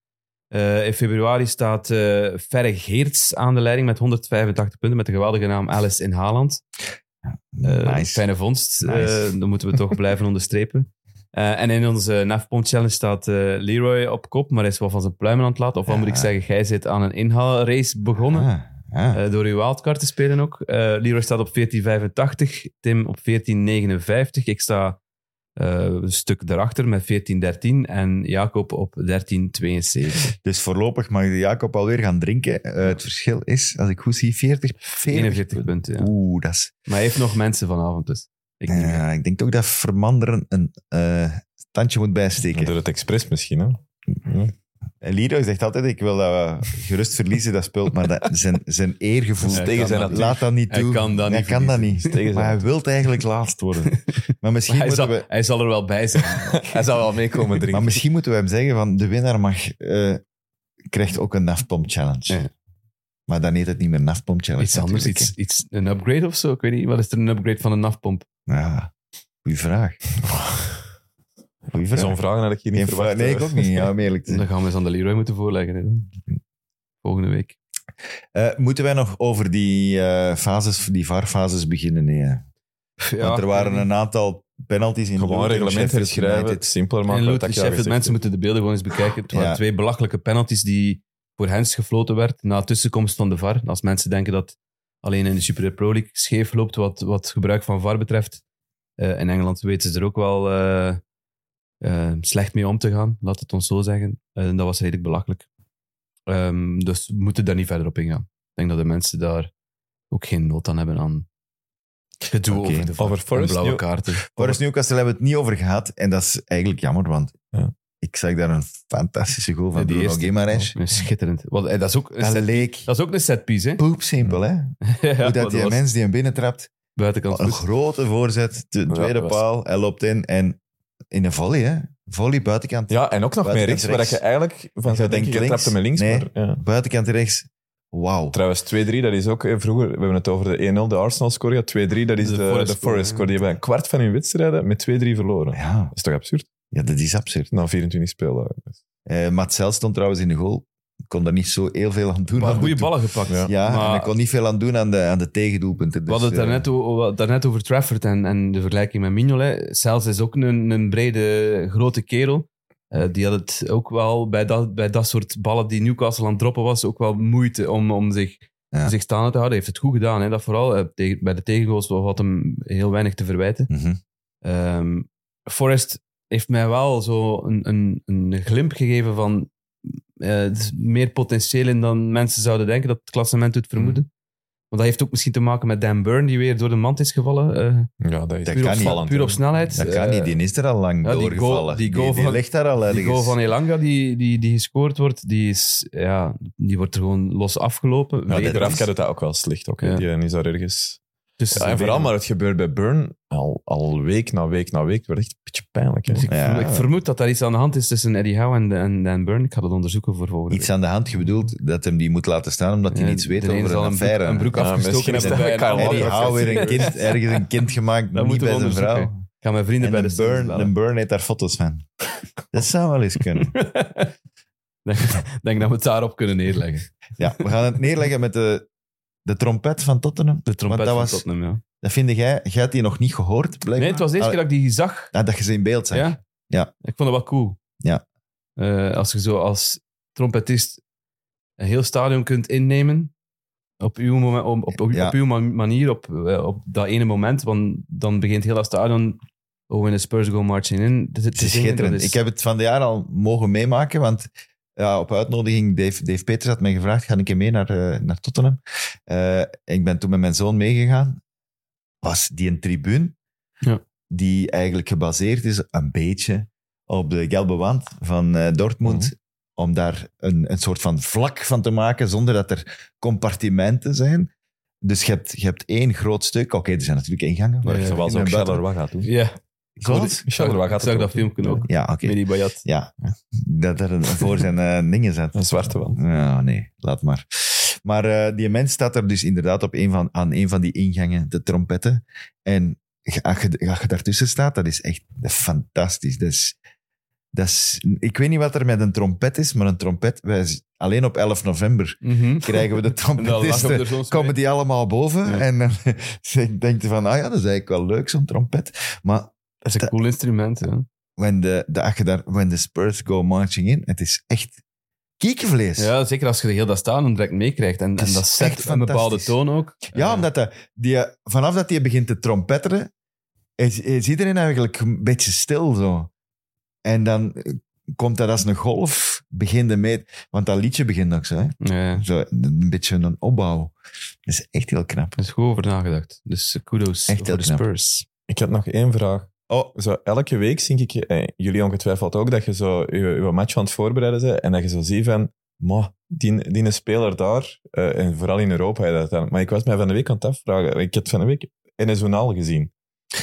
Eh, in februari staat eh Ferre Geerts aan de leiding met 185 punten met de geweldige naam Alice in Haaland. Eh,
nice.
Fijne vondst.
Nice.
(laughs) Eh, dat moeten we toch blijven onderstrepen. Eh, en in onze Nafpomp Challenge staat eh, Leroy op kop, maar hij is wel van zijn pluimen aan het laten. Of wat
Ja.
moet ik zeggen, jij zit aan een inhaalrace begonnen.
Ah, ah.
eh, door uw wildcard te spelen ook. Eh, Leroy staat op 1485, Tim op 1459. Ik sta eh, een stuk daarachter met 1413 en Jacob op 1372.
Dus voorlopig mag de Jacob alweer gaan drinken. Eh, het verschil is, als ik goed zie, 40, 40
41 punten, ja.
Oeh, dat is...
Maar hij heeft nog mensen vanavond dus. Ik niet meer.
Ja, ik denk ook dat Vermanderen een eh tandje moet bijsteken.
Door het expres misschien. Hè?
En Leroy zegt altijd, ik wil dat we gerust verliezen, dat speelt. Maar dat, zijn, zijn eergevoel
Hij
tegen
kan
zijn
dat niet.
laat dat niet
Hij
toe.
kan dat
Hij
niet
kan dat
verliezen.
niet.
Tegen zijn
maar hij wil eigenlijk laatst
(laughs)
worden. Maar misschien,
Hij
moeten
zal,
we,
hij zal er wel bij
(laughs)
zijn. hij zal wel meekomen
maar misschien moeten we hem zeggen, van, de winnaar mag, eh, krijgt ook een NAFPOM Challenge.
Ja.
Maar dan heet het niet meer NAFPOM Challenge.
Iets anders,
natuurlijk,
iets, iets, een upgrade of zo. Ik weet niet, wat is er een upgrade van een nafpomp?
hè. Ja, goeie vraag. Goeie vraag.
Zo'n vraag had ik hier niet
Geen
verwacht. eh.
vraag. Nee, ik ook niet,
(laughs)
ja, om eerlijk te zijn.
Dan gaan we eens aan de Leroy moeten voorleggen. hè, dan. Volgende week.
Eh, moeten wij nog over die, eh fases, die VAR-fases beginnen? Nee, hè? Want er waren
Mm-hmm.
een aantal penalties in
Gewoon
Luton,
reglement
Sheffield
herschrijven,
United.
het simpeler maken.
En
wat
Luton
Taki al
Sheffield,
gezegd
mensen
heeft.
moeten de beelden gewoon eens bekijken. Het waren
Ja.
twee belachelijke penalties die voor Hens gefloten werd na tussenkomst van de VAR. Als mensen denken dat alleen in de Super Pro League scheef loopt wat, wat gebruik van VAR betreft. eh, in Engeland weten ze er ook wel eh, eh, slecht mee om te gaan, laat het ons zo zeggen. Eh, En dat was redelijk belachelijk. Ehm, dus we moeten daar niet verder op ingaan. Ik denk dat de mensen daar ook geen nood aan hebben aan gedoe
Oké.
over de VAR
Over
en
Forest,
blauwe
joh.
kaarten.
Forest Newcastle hebben we het niet over gehad. En dat is eigenlijk jammer, want
Ja.
ik zag daar een fantastische goal van
Ja, die
Bruno
eerste.
Guimaraes.
Schitterend. Want, eh, dat, is ook een
Dat
set-
leek
dat is ook een setpiece, hè?
poepsimpel, hè?
(laughs) ja,
Hoe
maar
dat
dat
die Oh,
was
mens die hem binnentrapt,
buitenkant
een
goed.
grote voorzet, de tweede
dat was-
paal, hij loopt in en in een volley, hè? Volley buitenkant,
Ja, en ook nog meer
Buitenkant
rechts, waar
rechts.
je eigenlijk van
zou
zou denken,
denken
je
links.
trapte met links.
Nee.
Maar, ja.
buitenkant rechts. Wauw.
Trouwens, 2-3, dat is ook... eh, Vroeger, we hebben het over de 1-0, de Arsenal score. Ja, 2-3, dat is
De
de,
Forest
de
score,
Forest score. Die hebben een kwart van hun wedstrijden met 2-3 verloren.
Ja,
Dat is toch absurd?
ja, dat is absurd.
Na 24 spelen.
Eh Matzel stond trouwens in de goal. Kon daar niet zo heel veel aan doen.
Maar
Aan de
goede
toe-
ballen gepakt.
Ja.
Ja, en
maar
ik dus, eh, kon niet veel aan doen aan de, aan de tegendoelpunten. dus,
we hadden het daarnet, o- o- daarnet over Trafford en, en de vergelijking met Mignolet. Zelfs is ook een, een brede, grote kerel. Eh, die had het ook wel bij dat, bij dat soort ballen die Newcastle aan het droppen was, ook wel moeite om, om zich,
Ja.
om zich staande te houden. Hij heeft het goed gedaan, hè, dat vooral. Eh, tegen- bij de tegengoals had hem heel weinig te verwijten.
Mhm.
Ehm Forrest heeft mij wel zo een, een, een glimp gegeven van
Hmm.
eh, er is meer potentieel in dan mensen zouden denken dat het klassement doet vermoeden. Want dat heeft ook misschien te maken met Dan Burn, die weer door de mand is gevallen. eh,
Ja, dat is
Dat
puur,
kan
op,
niet.
sna- puur op snelheid.
Dat kan
Eh,
niet, die is er al lang
ja, die
doorgevallen.
goal- die
die,
goal
die
van-
ligt daar al
Eh, Die
ergens.
goal van Elanga die, die, die gescoord wordt, die, is, ja, die wordt er gewoon los afgelopen.
Ja,
Weder
dat
Achteraf
is-
kan het dat ook wel slecht. Ook, hè.
Ja.
Die eh, is daar ergens...
dus
Ja, en vooral, maar het gebeurt bij Burn al, al week na week na week. Het wordt echt een beetje pijnlijk. Hè.
Dus (laughs) ik,
Ja.
vermoed- ik vermoed dat daar iets aan de hand is tussen Eddie Howe en, en Dan Burn. Ik ga dat onderzoeken voor volgende
Iets aan de hand, je bedoelt dat hem die moet laten staan omdat hij
Ja,
niets weet
de een
over
zal
een
een broek-
affaire.
een broek
Ja,
afgestoken
misschien
hebben
heeft
bij
hij-
een andere
Eddie Howe
affaire.
weer een kind, ergens een kind gemaakt,
Dat
niet
moeten
bij
we
zijn
onderzoeken.
vrouw.
Ik ga mijn vrienden
En
bij de
een burn,
Suns bellen.
een burn heeft daar foto's van. Dat zou wel eens
(laughs)
kunnen.
Ik (laughs) denk dat we het daarop kunnen neerleggen.
Ja, we gaan het neerleggen met de, de trompet van Tottenham.
De trompet
dat
van
was-
Tottenham, ja.
Dat vind jij, jij hebt die nog niet gehoord, blijkbaar.
Nee, het was de eerste
Ah,
keer dat ik die zag.
ah, dat je ze in beeld zag.
Ja?
Ja.
Ik vond het wel cool.
Ja.
Eh, als je zo als trompetist een heel stadion kunt innemen, op uw, momen- op, op, op,
Ja.
op uw man- manier, op, eh, op dat ene moment, want dan begint heel dat stadion, oh, en de Spurs go marching in. te- te
Het is
zingen, dat
schitterend. Ik heb het van de jaar al mogen meemaken, want ja, op uitnodiging, Dave, Dave Peters had mij gevraagd, ga ik mee naar, eh, naar Tottenham? Eh, ik ben toen met mijn zoon meegegaan. Was die een tribune
Ja.
die eigenlijk gebaseerd is een beetje op de gelbe wand van eh, Dortmund,
Mhm.
om daar een, een soort van vlak van te maken, zonder dat er compartimenten zijn. Dus je hebt, je hebt één groot stuk. Oké, er zijn natuurlijk ingangen. waar
Ja,
je
Zoals
in
ook
en buiten-
Charleroi gaat doen.
Ja, ik hoorde-
Wat?
ik zag,
Charleroi
ik
gaat
zag
het
dat
ook
filmpje
doen.
ook.
Ja, oké.
Met die Bayat.
Ja, dat er een- voor zijn eh, dingen zat.
Een zwarte wel.
Ja, nee, laat maar. Maar eh, die mens staat er dus inderdaad op een van, aan een van die ingangen, de trompetten. En ge- als je, als je daartussen staat, dat is echt fantastisch. Dat is, dat is, ik weet niet wat er met een trompet is, maar een trompet... Wij, z- alleen op 11 november
Mhm. (laughs)
krijgen we de
En dan lag hem
trompetisten...
er soms
Komen
mee.
die allemaal boven?
Ja.
(laughs) En dan denk je van, ah ja, dat is eigenlijk wel leuk, zo'n trompet. Maar
Dat is een cool instrument, hè.
when the, de, als je daar, when the Spurs go marching in, het is echt kiekenvlees. Ja,
Ja, zeker als je heel dat staan direct meekrijgt. En,
Het
en
is
dat
echt
zet een bepaalde
fantastisch.
toon ook. Eh,
omdat de, die, vanaf dat hij begint te trompetteren, is, is iedereen eigenlijk een beetje stil zo. En dan eh, komt dat als een golf, begint de mee, want dat liedje begint ook zo, hè?
ja,
zo een beetje een opbouw. Dat is echt heel knap.
er is goed over nagedacht. Dus eh, kudos
Echt heel
voor de
knap.
Spurs.
Ik had nog één vraag.
Oh,
Zo, elke week zink ik, eh, jullie ongetwijfeld ook, dat je zo je, je match aan het voorbereiden bent en dat je zo ziet van, maar die, die speler daar, eh, en vooral in Europa, hè, dat dan. maar ik was mij van de week aan het afvragen, ik heb van de week NSONAL gezien.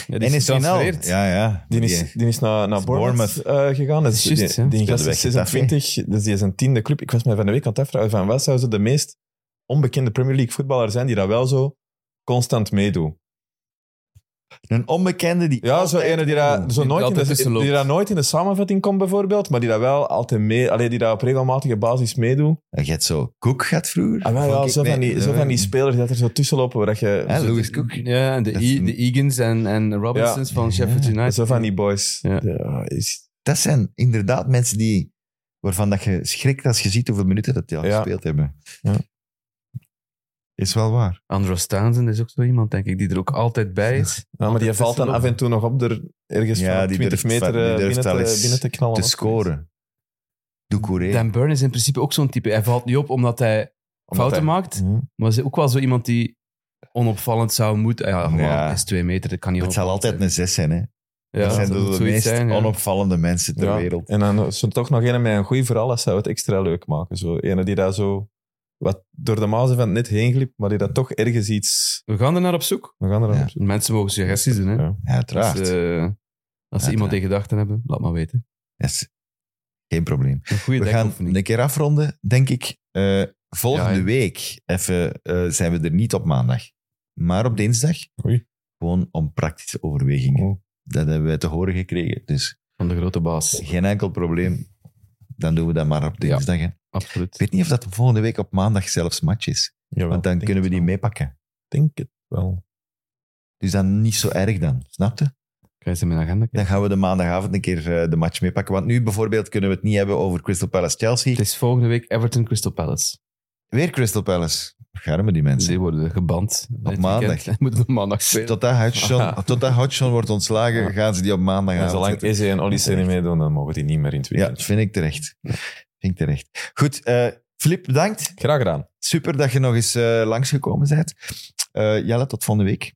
Ja,
en is
getransfereerd.
Rinal. Ja, ja.
Die is, die is naar, naar
is
Bournemouth, eh, gegaan. Dat is,
Juist,
die
ja.
die gast
Speelde
is
bij Getafe.
26, dus die is een tiende club. Ik was mij van de week aan het afvragen van wat zou zo de meest onbekende Premier League voetballer zijn die dat wel zo constant meedoet.
Een onbekende die...
Ja, zo ene die, daar zo
Die
nooit, in
altijd
de,
tussenloopt.
die daar nooit in de samenvatting komt bijvoorbeeld, maar die dat wel altijd mee, alleen die daar op regelmatige basis meedoet.
Je hebt zo Cook gaat vroeger.
Ah, wel,
Vond
ja,
ik-
zo,
nee,
van die, zo
dat-
van die spelers die dat er zo tussen lopen, waar dat je...
Hè,
zo-
Louis Cook.
Ja, en de,
Dat is
E-
een-
de Eagans en, en Robinsons van Sheffield United.
Zo van die boys.
Ja.
Ja, is,
dat zijn inderdaad mensen die, waarvan dat je schrikt als je ziet hoeveel minuten dat die al
Ja.
gespeeld hebben.
Ja.
Is wel waar.
Andros Townsend is ook zo iemand, denk ik, die er ook altijd bij is.
ja, maar die valt dan af en toe nog op er ergens
Ja,
van
die
20
durft-
meter
die
eh,
durft
binnen,
wel
te,
eens
binnen te knallen.
Te
of zoiets.
scoren. Doucouré.
Dan Burn is in principe ook zo'n type. Hij valt niet op omdat hij
Omdat
fouten
hij-
maakt,
Mhm.
maar is ook wel zo iemand die onopvallend zou moeten. Ah Ja, gewoon,
Ja.
hij is twee meter, dat kan niet
Het zal altijd een zes zijn. Hè?
Ja,
dat zijn dus
dat moet
de,
zoiets
meest
zijn, ja.
onopvallende mensen ter
Ja,
wereld.
En dan is er toch nog een met een goed verhaal, dat zou het extra leuk maken. Zo, ene die daar zo wat door de mazen van het net heen gliep, maar die dat toch ergens iets...
We gaan er naar op zoek.
We gaan er
Ja.
aan-
Mensen mogen suggesties doen, hè.
Ja.
Ja, uiteraard.
Dus, eh, als ze
Uiteraard.
iemand in gedachten hebben, laat maar weten.
Dat is geen probleem.
Een goede
We gaan
denkoefening.
een keer afronden, denk ik. Eh, volgende
Ja, hè.
week even, eh, zijn we er niet op maandag, maar op dinsdag.
Oei.
Gewoon om praktische overwegingen.
Oh.
Dat hebben wij te horen gekregen. Dus
Van de grote baas.
geen enkel probleem. Dan doen we dat maar op dinsdag. hè.
Absoluut.
Ik weet niet of dat volgende week op maandag zelfs match is.
Jawel,
Want dan
denk
kunnen we
het
die
wel.
meepakken.
denk het wel.
Dus dan niet zo erg dan, snap je?
Kan je ze in mijn agenda kijken?
Dan gaan we de maandagavond een keer eh, de match meepakken. Want nu bijvoorbeeld kunnen we het niet hebben over Crystal Palace-Chelsea.
Het is volgende week Everton Crystal Palace.
Weer Crystal Palace. Garme die mensen.
Die worden geband. Dit
maandag.
weekend. (laughs) Moeten op maandag spelen.
Tot dat
(laughs)
Hodgson, tot dat Hodgson wordt ontslagen, gaan ze die op
En
maandagavond
zolang
zetten.
Eze en Olise niet meedoen, dan mogen die niet meer in het
Ja,
weekend.
vind ik terecht. Vind ik terecht. Goed, eh, Filip, bedankt.
Graag gedaan.
Super dat je nog eens eh, langsgekomen bent. Eh, Jelle, tot volgende week.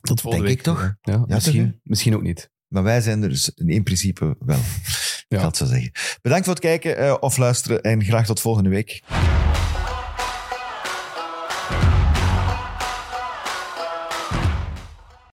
Tot
volgende week, toch?
Ja,
toch,
misschien, misschien ook niet.
Maar wij zijn er dus in principe wel. Ik
Ja.
ga het zo zeggen. Bedankt voor het kijken eh, of luisteren en graag tot volgende week.